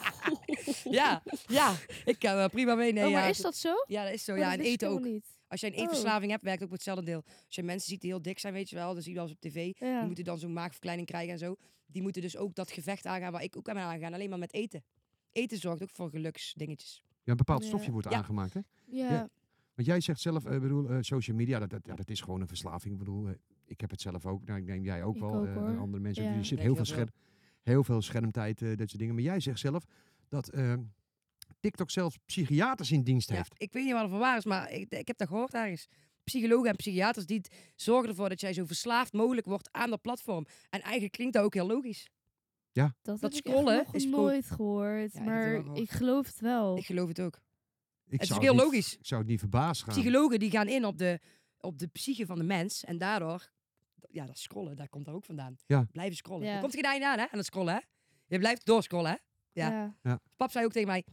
<laughs>
Ja, ja. Ik kan wel prima meenemen.
oh, maar
ja.
is dat zo?
Ja, dat is zo.
Oh,
Ja,
dat
en
wist ik
eten ook.
helemaal Niet.
Als je een
Oh.
eetverslaving hebt, werkt ook op hetzelfde deel. Als je mensen ziet die heel dik zijn, weet je wel, dan zie je wel eens op tv.
Ja.
Die moeten dan zo'n maagverkleining krijgen en zo. Die moeten dus ook dat gevecht aangaan waar ik ook aan ben aangegaan. Alleen maar met eten. Eten zorgt ook voor geluksdingetjes.
ja, een bepaald
Ja.
stofje wordt
Ja.
aangemaakt, hè?
ja.
Ja. Want jij zegt zelf, eh, bedoel, eh, social media, dat, dat, ja, dat is gewoon een verslaving. Ik bedoel, eh, ik heb het zelf ook. Nou, ik neem jij ook
Ik
wel.
ook,
eh,
hoor.
andere mensen.
Ja.
Je
Denk
zit heel
heel
veel,
veel.
scherm, heel veel schermtijd, eh, dat soort dingen. Maar jij zegt zelf dat eh, TikTok zelfs psychiaters in dienst
Ja,
heeft.
ik weet niet waar het van waar is, maar ik, ik heb dat gehoord ergens. Psychologen en psychiaters die het zorgen ervoor dat jij zo verslaafd mogelijk wordt aan dat platform. En eigenlijk klinkt dat ook heel logisch.
Dat,
Dat
heb
scrollen
ik echt nog
is gewoon-
nooit gehoord,
Ja, ik heb het
maar
ook gehoord.
ik geloof het wel.
Ik geloof het ook.
Ik
Het is
zou
heel
niet-
logisch.
Ik zou het niet verbaasd gaan.
Psychologen die gaan in op de, op de psyche van de mens. En daardoor, ja, dat scrollen, daar komt daar ook vandaan.
Ja.
Blijven scrollen.
Ja.
Er komt geen einde aan, hè, aan het scrollen, hè? Je blijft doorscrollen, hè? ja. Pap zei ook tegen mij,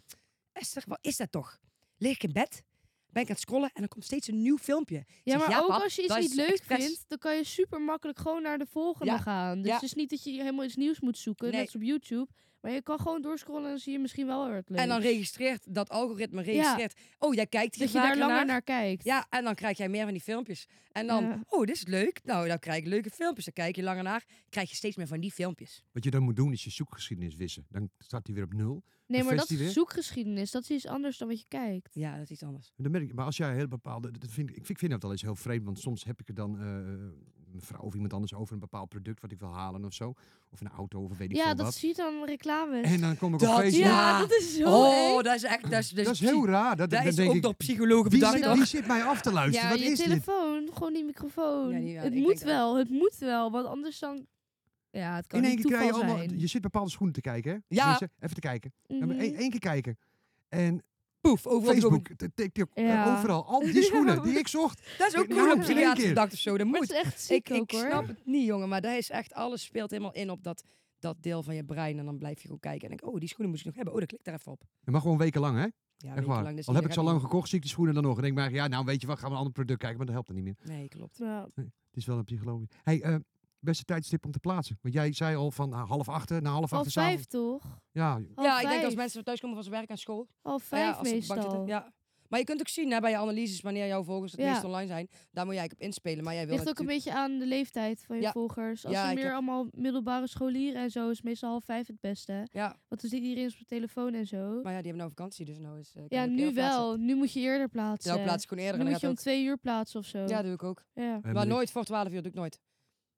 Esther, wat is dat toch? Lig ik in bed, ben ik aan het scrollen en er komt steeds een nieuw filmpje. Ik
Ja,
zeg,
maar ook
pap,
als je iets
dat is
niet leuk
expres."
vindt, dan kan je super makkelijk gewoon naar de volgende
Ja.
gaan. Dus
Ja.
het is niet dat je helemaal iets nieuws moet zoeken,
Nee.
net als op YouTube. Maar je kan gewoon doorscrollen en dan zie je misschien wel weer het leuk.
En dan registreert dat algoritme, registreert, oh, jij kijkt hier
dat je daar
vaker
langer naar,
naar.
kijkt.
Ja, en dan krijg jij meer van die filmpjes. En dan,
Ja.
oh, dit is leuk. Nou, dan krijg ik leuke filmpjes. Dan kijk je langer naar, krijg je steeds meer van die filmpjes.
Wat je dan moet doen is je zoekgeschiedenis wissen. Dan staat hij weer op nul.
nee, maar dat
bevestigt
is
weer.
zoekgeschiedenis. Dat is iets anders dan wat je kijkt.
Ja, dat is iets anders.
En dan merk ik, maar als jij heel bepaalde. Dat vind, ik- ik vind- vind dat wel eens heel vreemd, want soms heb ik er dan eh, een vrouw of iemand anders over een bepaald product wat ik wil halen of zo. Of een auto of weet ik
Ja,
veel
dat
wat.
zie je dan reclames.
En dan kom ik
Dat-
op Facebook.
Ja.
ja, <laughs> dat is zo
oh,
eng.
dat is echt, dat is, dat is,
Dat is heel
psy-
raar. Dat,
Dat
dan
Dus is
denk
ook
ik,
door psychologen
wie,
bedacht,
zit,
toch?
wie zit mij af te luisteren?
Ja,
wat
je
is dit?
telefoon, gewoon die microfoon.
Ja, die- ja,
het
ik
moet
denk dat.
wel, het moet wel, want anders dan... Ja, het kan
In één
niet
keer krijg
toeval
je allemaal.
zijn.
Je zit bepaalde schoenen te kijken, hè?
Ja.
Tenminste, Even te kijken. Ja, maar
Mhm.
één één keer kijken. En
Poef, overal
Facebook, t- TikTok, eh,
<laughs> Ja.
overal. Al die schoenen die ik zocht.
Dat is ook
Ja,
gewoon
in
een
één
psychiater
keer.
bedacht of zo. Dat
Maar
moet.
het is echt ziek
Ik, ik
ook, hoor.
snap het niet, jongen. Maar dat is echt, alles speelt helemaal in op dat, dat deel van je brein. En dan blijf je gewoon kijken. En denk ik, oh, die schoenen moet ik nog hebben. Oh, dan klik daar even op.
Dat mag gewoon wekenlang, hè?
Ja,
Echt
wekenlang,
waar.
dus
Al heb
dat
ik zo
gaat
lang
niet.
gekocht, zie ik die schoenen dan nog. En denk maar, ja, nou weet je wat, gaan we een ander product kijken. Maar dat helpt dan niet meer.
Nee, klopt.
Ja.
Het is wel een psychologie. Hey, eh, beste tijdstip om te plaatsen. Want jij zei al van ah, half acht, eh, na half acht
Half
is
vijf
avond.
toch?
Ja,
Half
ja, ik denk als
vijf.
mensen thuiskomen van zijn werk en school.
Half
nou ja,
vijf
als ze op de bank
meestal.
zitten, ja. Maar je kunt ook zien hè, bij je analyses wanneer jouw volgers het
Ja.
meest online zijn. Daar moet jij eigenlijk op inspelen. Maar jij wil
Ligt ook een
natuurlijk-
beetje aan de leeftijd van je
Ja.
volgers. Als
Ja,
ze
ik
meer
heb-
allemaal middelbare scholieren en zo, is meestal half vijf het beste.
Ja,
Want dan zit iedereen op zijn telefoon en zo.
maar ja, die hebben nou vakantie. Dus nou is, eh, kan
ja,
ik ook
nu
eerder plaatsen.
wel. Nu moet je eerder plaatsen.
Nou, plaats ik gewoon eerder.
nu
en
moet
dan
je om
gaat het
twee uur plaatsen of zo.
ook... Ja, doe ik ook.
Ja.
eh,
Maar
ik-
nooit voor 12 uur, doe ik nooit.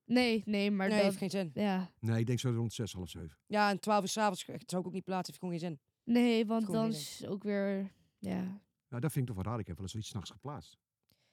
Nee, nee, maar
nee,
dat...
heeft geen zin.
Ja.
Nee, ik denk zo rond zes, half zeven.
Ja, en 12 uur s'avonds zou ik ook niet plaatsen, heeft gewoon geen zin.
Nee, want
Gewoon
dan
niet
is het ook weer... Ja.
Nou, dat vind ik toch wel raar. Ik heb wel eens iets s'nachts geplaatst.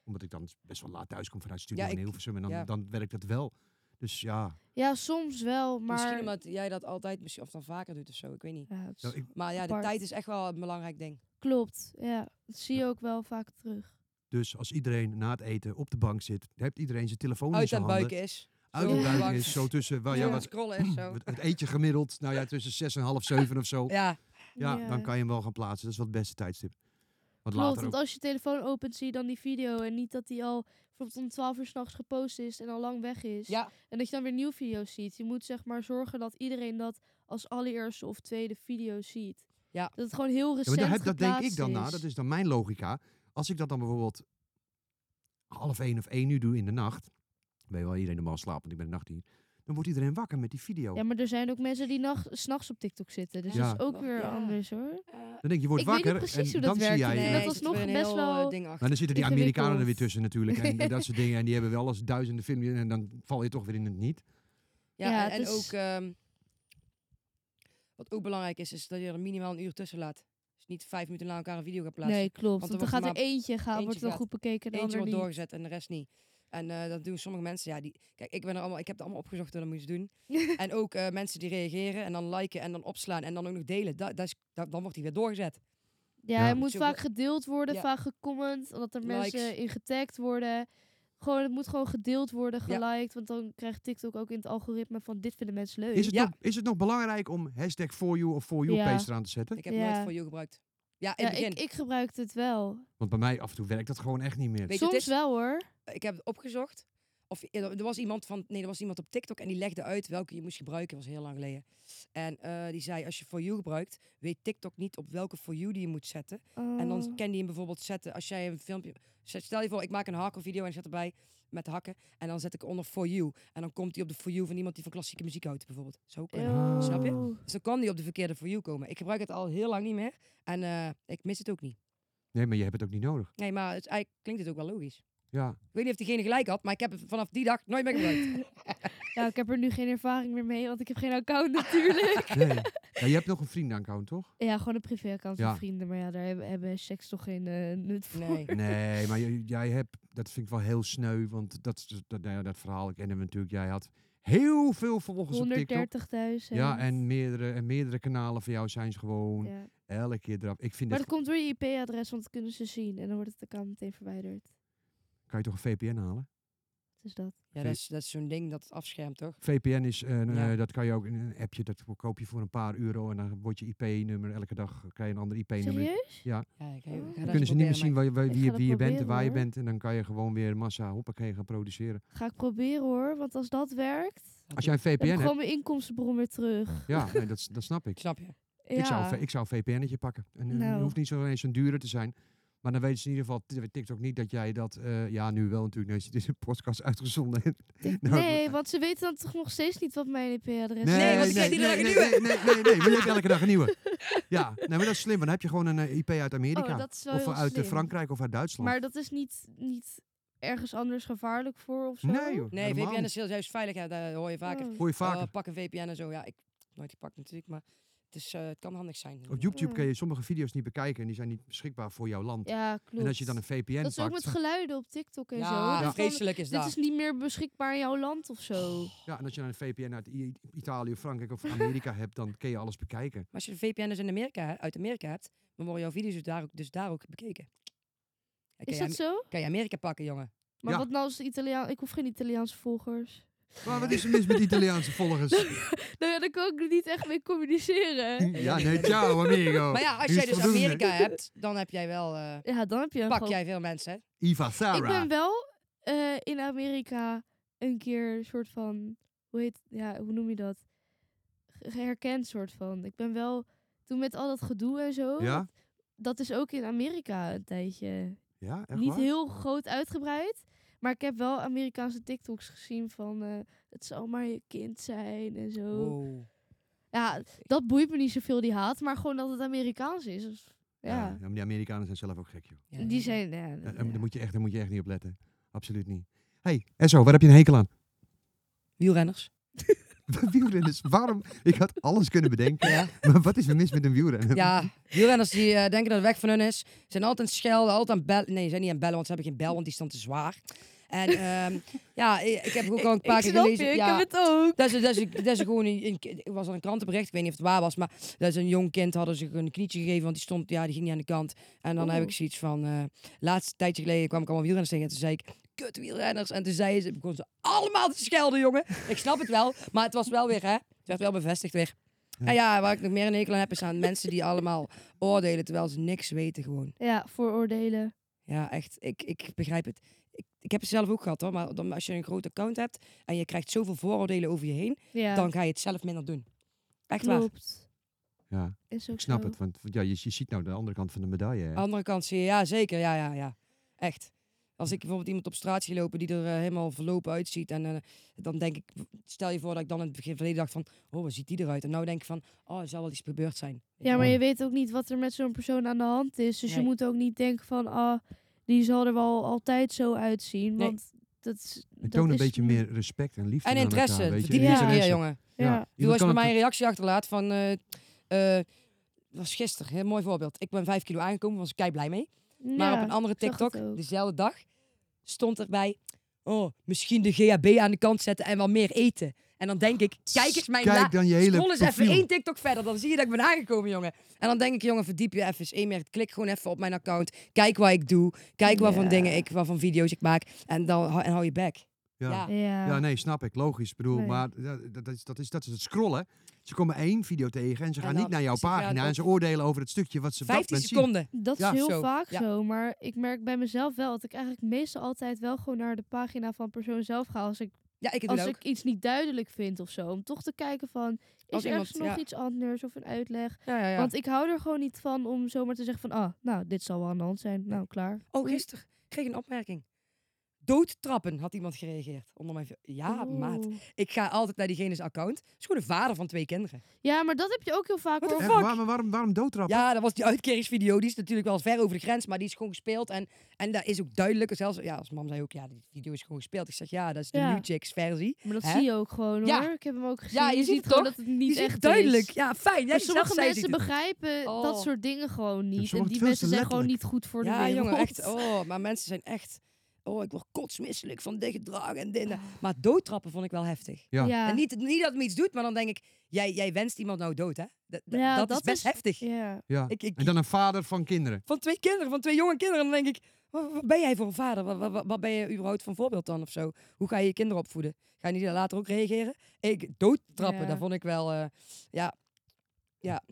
Omdat ik dan best wel laat thuis kom vanuit studie
Ja,
in
ik-
Hilversum. En dan,
ja.
dan werkt dat wel. Dus ja,
ja, soms wel,
Misschien
maar...
omdat jij dat altijd misschien, of dan vaker doet of zo, ik weet niet.
Ja, het is-
nou, ik,
Maar ja, de
Apart.
tijd is echt wel een belangrijk ding.
Klopt, ja. Dat zie je ook wel vaak terug.
dus als iedereen na het eten op de bank zit, heeft iedereen zijn telefoon in
Uit
zijn
en
handen.
buiken is.
Uit
Zo
het
op de
buik
bank.
is zo tussen, wel, Oh, ja,
Ja.
Wat
wat,
scrollen
<clears throat>
is zo.
het eentje gemiddeld. Nou ja, tussen zes en half zeven of zo.
Ja,
Ja, dan kan je hem wel gaan plaatsen. Dat is wel het beste tijdstip. Wat
Klopt,
later
want
ook.
als je telefoon opent zie je dan die video en niet dat die al bijvoorbeeld om 12 uur s'nachts gepost is en al lang weg is.
ja.
En dat je dan weer nieuwe video's ziet. Je moet zeg maar zorgen dat iedereen dat als allereerste of tweede video ziet.
Ja.
Dat het gewoon heel
Ja, maar
recent
daar heb- dat denk ik
geplaatst
dan na.
is.
Dat is dan mijn logica. Als ik dat dan bijvoorbeeld half één of één uur doe in de nacht. Ben je wel iedereen normaal slaapt, want ik ben een nachtdier. Dan wordt iedereen wakker met die video.
Ja, maar er zijn ook mensen die nacht, s'nachts op TikTok zitten. Dus
Ja.
dat is ook
Ja.
weer
Ja.
anders hoor.
Dan denk je, je wordt
ik weet niet
wakker
precies
en
hoe dat
dan zie
werkt.
jij...
Nee,
eh,
dat
het
was
is
nog
weer een
best
heel,
wel-
eh, ding achter.
Maar dan zitten die Amerikanen er weer
ingewikkeld.
tussen natuurlijk. En eh, dat soort dingen. En die hebben wel eens duizenden filmpjes. En dan val je toch weer in het niet.
Ja,
Ja,
en, en
het is-
ook... ehm, wat ook belangrijk is, is dat je er minimaal een uur tussen laat. Dus niet vijf minuten na elkaar een video gaat plaatsen.
Nee, klopt.
er
Want dan
wordt
gaat er
maar
eentje, gaan,
eentje
wordt wel
gaat.
goed bekeken en de
Eentje
ander
wordt
niet.
doorgezet en de rest niet. En eh, dat doen sommige mensen. Ja, die, kijk, ik, ben er allemaal, ik heb het allemaal opgezocht hoe dat moest
<laughs>
doen. en ook eh, mensen die reageren en dan liken en dan opslaan en dan ook nog delen. Da, dat is, da- dan wordt die weer doorgezet.
Ja,
Ja.
hij moet
Moet je ook
vaak gedeeld worden,
Ja.
vaak gecomment, omdat er
Likes.
mensen in getagd worden. Gewoon, het moet gewoon gedeeld worden,
Ja.
geliked, want dan krijgt TikTok ook in het algoritme van dit vinden mensen leuk.
Is het,
Ja.
nog, is het nog belangrijk om hashtag for you of for you
Eh, Ja.
page eraan te zetten?
Ik heb
Ja.
nooit voor jou gebruikt. Ja, in
ja,
het begin.
ik, ik gebruik het wel.
Want bij mij af en toe werkt dat gewoon echt niet meer.
Weet je, het
Soms
is-
wel hoor.
ik heb het opgezocht. Of eh, er was iemand van. Nee, er was iemand op TikTok en die legde uit welke je moest gebruiken. Dat was heel lang geleden. En eh, die zei: als je For You gebruikt, weet TikTok niet op welke For You die je moet zetten. En
Oh. Mm.
dan kan die hem bijvoorbeeld zetten. Als jij een filmpje. zet- Stel je voor, ik maak een hakkenvideo en ik zet erbij met hakken. En dan zet ik onder For You. En dan komt die op de For You van iemand die van klassieke muziek houdt, bijvoorbeeld. Zo kan
Ah.
Eeuw.
Snap je? Dus dan kan die op de verkeerde For You komen. Ik gebruik het al heel lang niet meer. En eh, ik mis het ook niet.
Nee, maar je hebt het ook niet nodig.
Nee, maar het, is eigenlijk klinkt het ook wel logisch.
Ja.
Ik weet niet of diegene gelijk had, maar ik heb het vanaf die dag nooit meer gebruikt.
<laughs> Ja, ik heb er nu geen ervaring meer mee, want ik heb geen account
<laughs>
natuurlijk.
Nee.
<laughs>
Ja, je hebt nog een vriendenaccount, toch?
ja, gewoon een privéaccount
Ja.
van vrienden. Maar ja, daar hebben, hebben seks toch geen eh, nut voor.
Nee.
<laughs> Nee, maar j- jij hebt, dat vind ik wel heel sneu, want dat, is dus- dat, nou ja, dat verhaal kennen we natuurlijk. Jij had heel veel volgers op TikTok.
130.000.
Ja, en meerdere, en meerdere kanalen van jou zijn ze gewoon
Ja.
elke keer eraf. Ik vind
Maar
dat,
dat komt door je IP-adres, want dat kunnen ze zien. En dan wordt het account meteen verwijderd.
kan je toch een VPN halen?
Dus dat.
Ja, dat is, dat is zo'n ding dat het afschermt, toch?
VPN is, eh,
Ja.
eh, dat kan je ook in een appje, dat koop je voor een paar euro en dan wordt je IP-nummer, elke dag krijg je een ander IP-nummer.
Serieus?
Ja, ik, ik ga
Dan
dat eens
Dan eh, kunnen ze niet
proberen,
meer zien
maar
waar, je- waar-
Ik
wie,
ga
je-
dat
wie je bent en
proberen,
waar je
hoor.
bent. En dan kan je gewoon weer massa hoppakee gaan produceren.
Ga ik proberen hoor, want als dat werkt,
ik-
Als jij een
dan heb
VPN
ik
hebt,
gewoon mijn inkomstenbron weer terug.
ja, nee, dat, s- dat snap
Ik
ik.
snap je.
Ja.
Ik zou, een v- ik zou een VPN'tje pakken. En, en het
Nou.
hoeft niet zo ineens een dure te zijn. Maar dan weten ze in ieder geval, t- TikTok niet dat jij dat... eh, ja, nu wel natuurlijk. Nee, dit is een podcast uitgezonden. <laughs> Nou,
nee, want ze weten dan toch nog steeds niet wat mijn E IP-adres is.
Nee, want ik krijg iedere dag
nee,
een
nee, nee, nee, nee, maar je hebt elke dag een
<laughs>
nieuwe. Ja, nee, maar dat is slim. Want dan heb je gewoon een eh, IP uit Amerika.
Oh, dat is wel
of
heel
uit eh,
slim.
Frankrijk of uit Duitsland.
Maar dat is niet, niet ergens anders gevaarlijk voor of zo?
nee, joh.
Nee,
helemaal
VPN
niet.
is heel juist veilig, ja, dat hoor je vaker.
Oh.
Hoor je
Oh,
vaker.
pak een VPN en zo. Ja, ik heb nooit gepakt natuurlijk, maar het, is, eh, het kan handig zijn.
Op YouTube
Ja.
kun je sommige video's niet bekijken. En die zijn niet beschikbaar voor jouw land.
Ja, klopt.
en als je dan een VPN
dat
pakt...
is ook met geluiden op TikTok en zo.
Ja,
Dat is dan-
vreselijk is
Dit
dat.
is niet meer beschikbaar in jouw land of zo.
Ja, en als je dan een VPN uit I- Italië, Frankrijk
<laughs>
of Amerika hebt, dan kun je alles bekijken.
Maar als je een VPN dus in Amerika, uit Amerika hebt, dan worden jouw video's dus daar ook, dus daar ook bekeken. Ja, Kan
Is
je,
dat
Am-
zo?
kan je Amerika pakken, jongen?
Maar
Ja.
wat nou als de Italiaan... Ik hoef geen Italiaanse volgers.
Maar wat is er mis met Italiaanse
<laughs>
volgers?
Nou ja, daar kan ik niet echt mee communiceren.
ja, nee, ciao amigo.
Maar ja, als
Nu Oh,
jij
is het
dus
voldoende. <laughs>
Amerika hebt, dan heb jij wel... eh,
Ja, dan heb je een
pak
groot-
jij veel mensen, hè?
Iva Sara.
Ik ben wel eh, in Amerika een keer een soort van... Hoe heet... Ja, hoe noem je dat? Ge- Geherkend soort van. Ik ben wel... Toen met al dat gedoe en zo.
Ja?
Dat is ook in Amerika een tijdje.
Ja, echt
niet
waar?
heel groot uitgebreid. Maar ik heb wel Amerikaanse TikToks gezien van... eh, het zal maar je kind zijn en zo.
Wow.
Ja, dat boeit me niet zoveel, die haat. Maar gewoon dat het Amerikaans is. Dus, ja.
maar die Amerikanen zijn zelf ook gek, joh.
Ja,
Die
ja.
zijn... Ja,
Ja,
dat-
Daar,
ja.
moet je echt, daar moet je echt niet op letten. Absoluut niet. hey, Esso, waar heb je een hekel aan? <laughs>
Wielrenners.
wielrenners, waarom? Ik had alles kunnen bedenken.
Ja.
Maar wat is er mis met een <laughs> wielrenner?
Ja, wielrenners die eh, denken dat de weg van hun is. Zijn altijd aan het schelden, altijd aan het bellen. Nee, ze zijn niet aan het bellen, want ze hebben geen bel, want die stond te zwaar. En ehm, <laughs> ja, ik, ik heb ook al een paar
ik
keer
snap
gelezen.
je, ik
ja,
heb het ook.
dat is, dat, is, dat is gewoon een, een- ik was al een krantenbericht, ik weet niet of het waar was, maar dat is een jong kind hadden ze een knietje gegeven, want die stond, ja, die ging niet aan de kant. En dan heb
Oeh.
ik zoiets van, eh laatste tijdje geleden kwam ik allemaal wielrenners tegen en toen zei ik, kut wielrenners. En toen zeiden ze, begonnen ze allemaal te schelden, jongen. Ik snap het wel, maar het was wel weer, hè, het werd wel bevestigd weer. En ja, waar ik nog meer een hekel aan heb, is aan mensen die allemaal oordelen terwijl ze niks weten gewoon.
Ja, vooroordelen.
Ja, echt, ik, ik begrijp het. Ik, ik heb het zelf ook gehad hoor, maar dan, als je een groot account hebt en je krijgt zoveel vooroordelen over je heen,
Ja,
dan ga je het zelf minder doen. Echt waar.
Ehm, klopt.
Ja,
Is ook
ik snap
zo.
het. Want ja, je, je ziet nou de andere kant van de medaille. hè.
Andere kant zie je, ja zeker, ja, ja, ja. Echt. Als ik bijvoorbeeld iemand op straat zie lopen die er eh, helemaal verlopen uitziet. En eh, dan denk ik, stel je voor dat ik dan in het begin verleden dacht van, oh, wat ziet die eruit? En nou denk ik van, oh, er zal wel iets gebeurd zijn.
Ja, maar je weet ook niet wat er met zo'n persoon aan de hand is. Dus
Nee.
je moet ook niet denken van, ah, die zal er wel altijd zo uitzien.
Nee.
Want dat is...
En
dat
toon een
is
beetje
niet.
meer respect en liefde
En
naar
interesse,
elkaar, weet je.
verdiep je
Ja.
eens een keer,
Interesse.
jongen.
Ja.
Doe
Iemand
als je
kan
bij
het-
mij een reactie achterlaat van... eh, eh, was gisteren, heel mooi voorbeeld. Ik ben vijf kilo aangekomen, was ik kei blij mee. Maar
Ja,
op een andere
ik zag het
TikTok,
ook.
dezelfde dag, stond erbij... Oh, misschien de GHB aan de kant zetten en wat meer eten. En dan denk ik, kijk eens mijn la-
Kijk dan je hele
Scroll eens even
profiel.
één TikTok verder, dan zie je dat ik ben aangekomen, jongen. En dan denk ik, jongen, verdiep je even eens één meer. Klik gewoon even op mijn account. Kijk wat ik doe. Kijk wat van
Ja.
dingen ik, wat van video's ik maak. En dan hou- en hou je back.
Ja.
Ja.
Ja, nee, snap ik. Logisch. Ik bedoel,
Nee.
maar dat, dat, is, dat, is, dat is het scrollen. Ze komen één video tegen en ze
En
gaan
dan-
niet naar jouw
ze gaan
pagina. En
op
ze oordelen over het stukje wat ze op dat
15
moment zien.
seconden.
Dat
Ja,
is heel
zo,
vaak
ja.
zo, maar ik merk bij mezelf wel dat ik eigenlijk meestal altijd wel gewoon naar de pagina van persoon zelf ga als ik,
Ja, ik doe
als
dat ook.
ik iets niet duidelijk vind of zo. Om toch te kijken van, is
Als
er
iemand-
ergens nog
ja.
iets anders of een uitleg?
Ja, ja, ja.
Want ik hou er gewoon niet van om zomaar te zeggen van, ah, nou, dit zal wel aan de hand zijn. Nou, klaar.
Oh,
Oei.
gisteren kreeg ik een opmerking. Doodtrappen had iemand gereageerd onder mijn... vi- Ja, maat.
Oeh.
Ik ga altijd naar diegene's account. Het is gewoon een vader van twee kinderen.
Ja, maar dat heb je ook heel vaak
What the
hoor.
Echt
Fuck.
waar? Maar waarom, waarom doodtrappen?
Ja, dat was die uitkeringsvideo. Die is natuurlijk wel ver over de grens, maar die is gewoon gespeeld. En, en dat is ook duidelijk. Zelfs ja, als mam zei ook, ja, die video is gewoon gespeeld. Ik zeg, ja, dat is de
Ja.
New Chicks versie.
Maar dat
Hè?
zie je ook gewoon
Ja.
hoor. Ik heb hem ook gezien.
Ja, je
je,
ziet
ziet gewoon
toch?
dat het niet
die is
echt
duidelijk.
is.
Ja, fijn. Ja,
Maar
je
sommige
zelf zei,
mensen
ziet het.
begrijpen
Oh.
dat soort dingen gewoon
Ja,
niet.
sommige
En
het
die
veel
mensen
te
zijn gewoon niet
letterlijk.
goed voor de
Ja,
wereld.
jongen, echt. Oh, maar mensen zijn echt... Oh, ik word kotsmisselijk van dit gedrag en dit. en dat. Maar doodtrappen vond ik wel heftig.
Ja.
En niet, niet dat het me iets doet, maar dan denk ik... Jij, jij wenst iemand nou dood, hè? Dat, dat-
Ja,
dat, is
dat
best
is-
heftig.
Ja.
Ja.
Ik, ik,
En dan een vader van kinderen.
van twee kinderen, van twee jonge kinderen. En dan denk ik, wa- wa- wat ben jij voor een vader? Wa- wa- wa- Wat, ben je überhaupt van voorbeeld dan of zo? Hoe ga je je kinderen opvoeden? Ga je niet later ook reageren? Ik doodtrappen,
Ja.
dat vond ik wel... eh, ja,
Ja.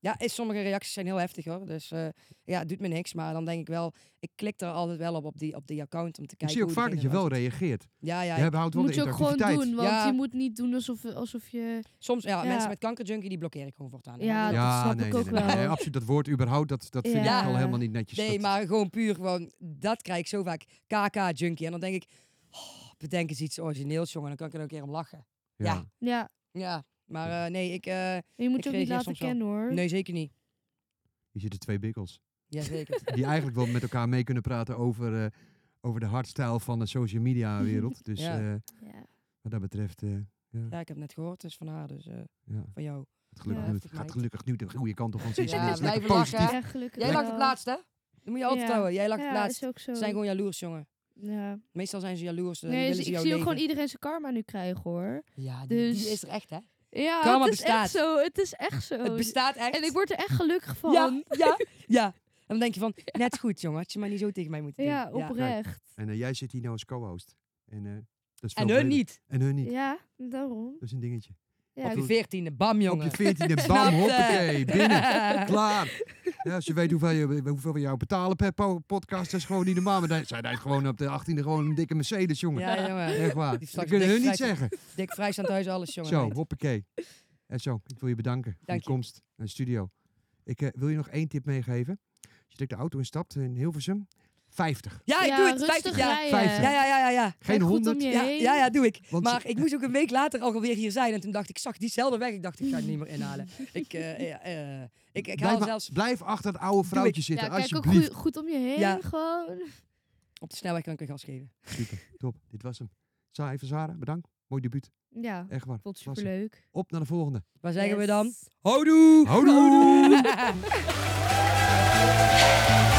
ja is, sommige reacties zijn heel heftig hoor. Dus eh, ja, het doet me niks. Maar dan denk ik wel, ik klik er altijd wel op op die, op die account om te
Ik
kijken
zie ook
hoe
vaak dat je
diegene
wel
eruit
reageert.
ziet. Ja, ja.
Jij houdt wel
moet
de
je ook gewoon
interactiviteit.
doen, want
Ja.
je moet niet doen alsof, alsof je...
Soms, ja,
Ja.
mensen met kankerjunkie, die blokkeer ik gewoon voortaan.
Ja,
nee,
dat snap ik
nee, nee,
ook
nee, nee,
wel.
nee, absoluut. Dat woord überhaupt, dat, dat vind
Ja.
ik al helemaal niet netjes.
nee,
Dat-
maar gewoon puur gewoon, dat krijg ik zo vaak. KK-junkie. En dan denk ik, oh, bedenk eens iets origineels, jongen. Dan kan ik er ook een keer om lachen. ja.
Ja,
Ja, maar eh, nee, ik... eh,
je moet
Ik
je ook niet
reageer
laten
soms wel.
kennen hoor.
Nee, zeker niet.
Je ziet de twee bikkels.
<laughs>
Jazeker.
Die eigenlijk wel met elkaar mee kunnen praten over, eh, over de hardstyle van de social media wereld. Dus
Ja.
eh,
Ja.
wat dat betreft, eh,
ja, ik heb net gehoord, dus van haar, dus eh,
ja,
van jou.
het gelukkig
Ja.
nu, het gaat gelukkig nu de goede kant op. Want ze is
Ja,
weer eens lekker
blijven lachen,
positief.
hè?
Ja, gelukkig
Jij
wel.
lag het laatst, hè? Dat moet je altijd
Ja.
houden. Jij lag
ja,
het laatst.
is ook zo.
Ze zijn gewoon jaloers, jongen.
Ja.
Meestal zijn ze jaloers. eh,
Nee,
willen
dus
ze
ik
jouw
zie ook
leven.
gewoon iedereen zijn karma nu krijgen hoor.
Ja, die, die
Dus-
is er echt, hè?
Ja,
Karma
het is
bestaat.
echt zo. Het is echt zo.
Het bestaat echt.
En ik word er echt gelukkig van.
Ja, <laughs> ja, ja. En dan denk je van, net goed, jongen. Had je maar niet zo tegen mij moeten doen.
Ja, oprecht.
En eh, jij zit hier nou als co-host. En, eh, dat is
En
veel
hun
breder.
niet.
En hun niet.
Ja, daarom.
Dat is een dingetje.
Ja,
Op
Wat
je
doe-
veertiende, bam, jongen.
Op je
<laughs>
veertiende,
Snap
bam,
je?
hoppakee,
<laughs>
binnen. Klaar. Ja, als je weet hoeveel, je, hoeveel we jou betalen per po- podcast, dat is gewoon niet normaal. Maar dan- zij rijdt gewoon op de 18e gewoon een dikke Mercedes, jongen.
Ja, jongen.
Echt waar.
Die
Dat
straks
kunnen
dik
hun niet
vrij-
zeggen.
Dik vrij staan thuis alles, jongen.
Zo,
meid.
hoppakee. En zo, ik wil je bedanken voor
Dank
je
je.
komst naar de studio. Ik eh, wil je nog één tip meegeven. Als je de auto instapt in Hilversum, 50.
Ja, ik
ja,
doe het. 50
rustig
jaar.
rijden.
Vijftig.
Ja, ja, ja, ja, ja.
Geen
goed om
100.
je
Ja,
heen.
ja, ja, doe ik.
Want-
maar ik moest ook een week later al alweer hier zijn. En toen dacht ik, ik zag diezelfde weg. Ik dacht, ik ga het niet meer inhalen. Ik, eh, ja, eh, ik, ik haal
Blijf, maar-
zelfs
blijf achter het oude vrouwtje
Ja,
zitten,
kijk ook
alsjeblieft.
goed, goed om je heen
Ja.
gewoon.
op de snelweg kan ik weer gas geven.
Super, top. Dit was hem. Sa, even Sarah, bedankt. Mooi debuut.
Ja,
Echt waar.
vond het
Klasse.
superleuk.
Op naar de volgende.
Waar zeggen we
Yes.
dan? Houdoe!
Houdoe!